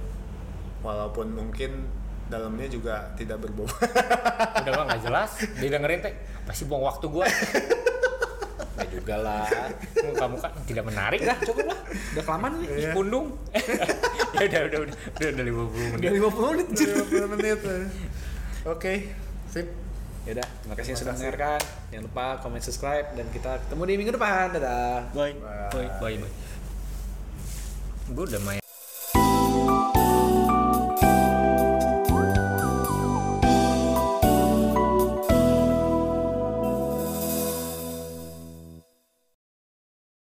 S2: Walaupun mungkin dalamnya juga tidak berbobot.
S4: udah bang nggak jelas didengerin teh pasti buang waktu gua
S1: nggak juga lah
S4: muka muka tidak menarik
S1: udah Ya, cukup lah udah kelamaan nih
S2: Iya.
S4: pundung ya udah udah udah udah udah lima puluh
S1: udah
S2: Iya.
S1: 50 menit anjir.
S2: 20 menit. Oke, sip.
S1: ya udah terima kasih yang sudah mendengarkan jangan lupa komen subscribe dan kita ketemu di minggu depan dadah
S4: boy boy boy boy gua udah main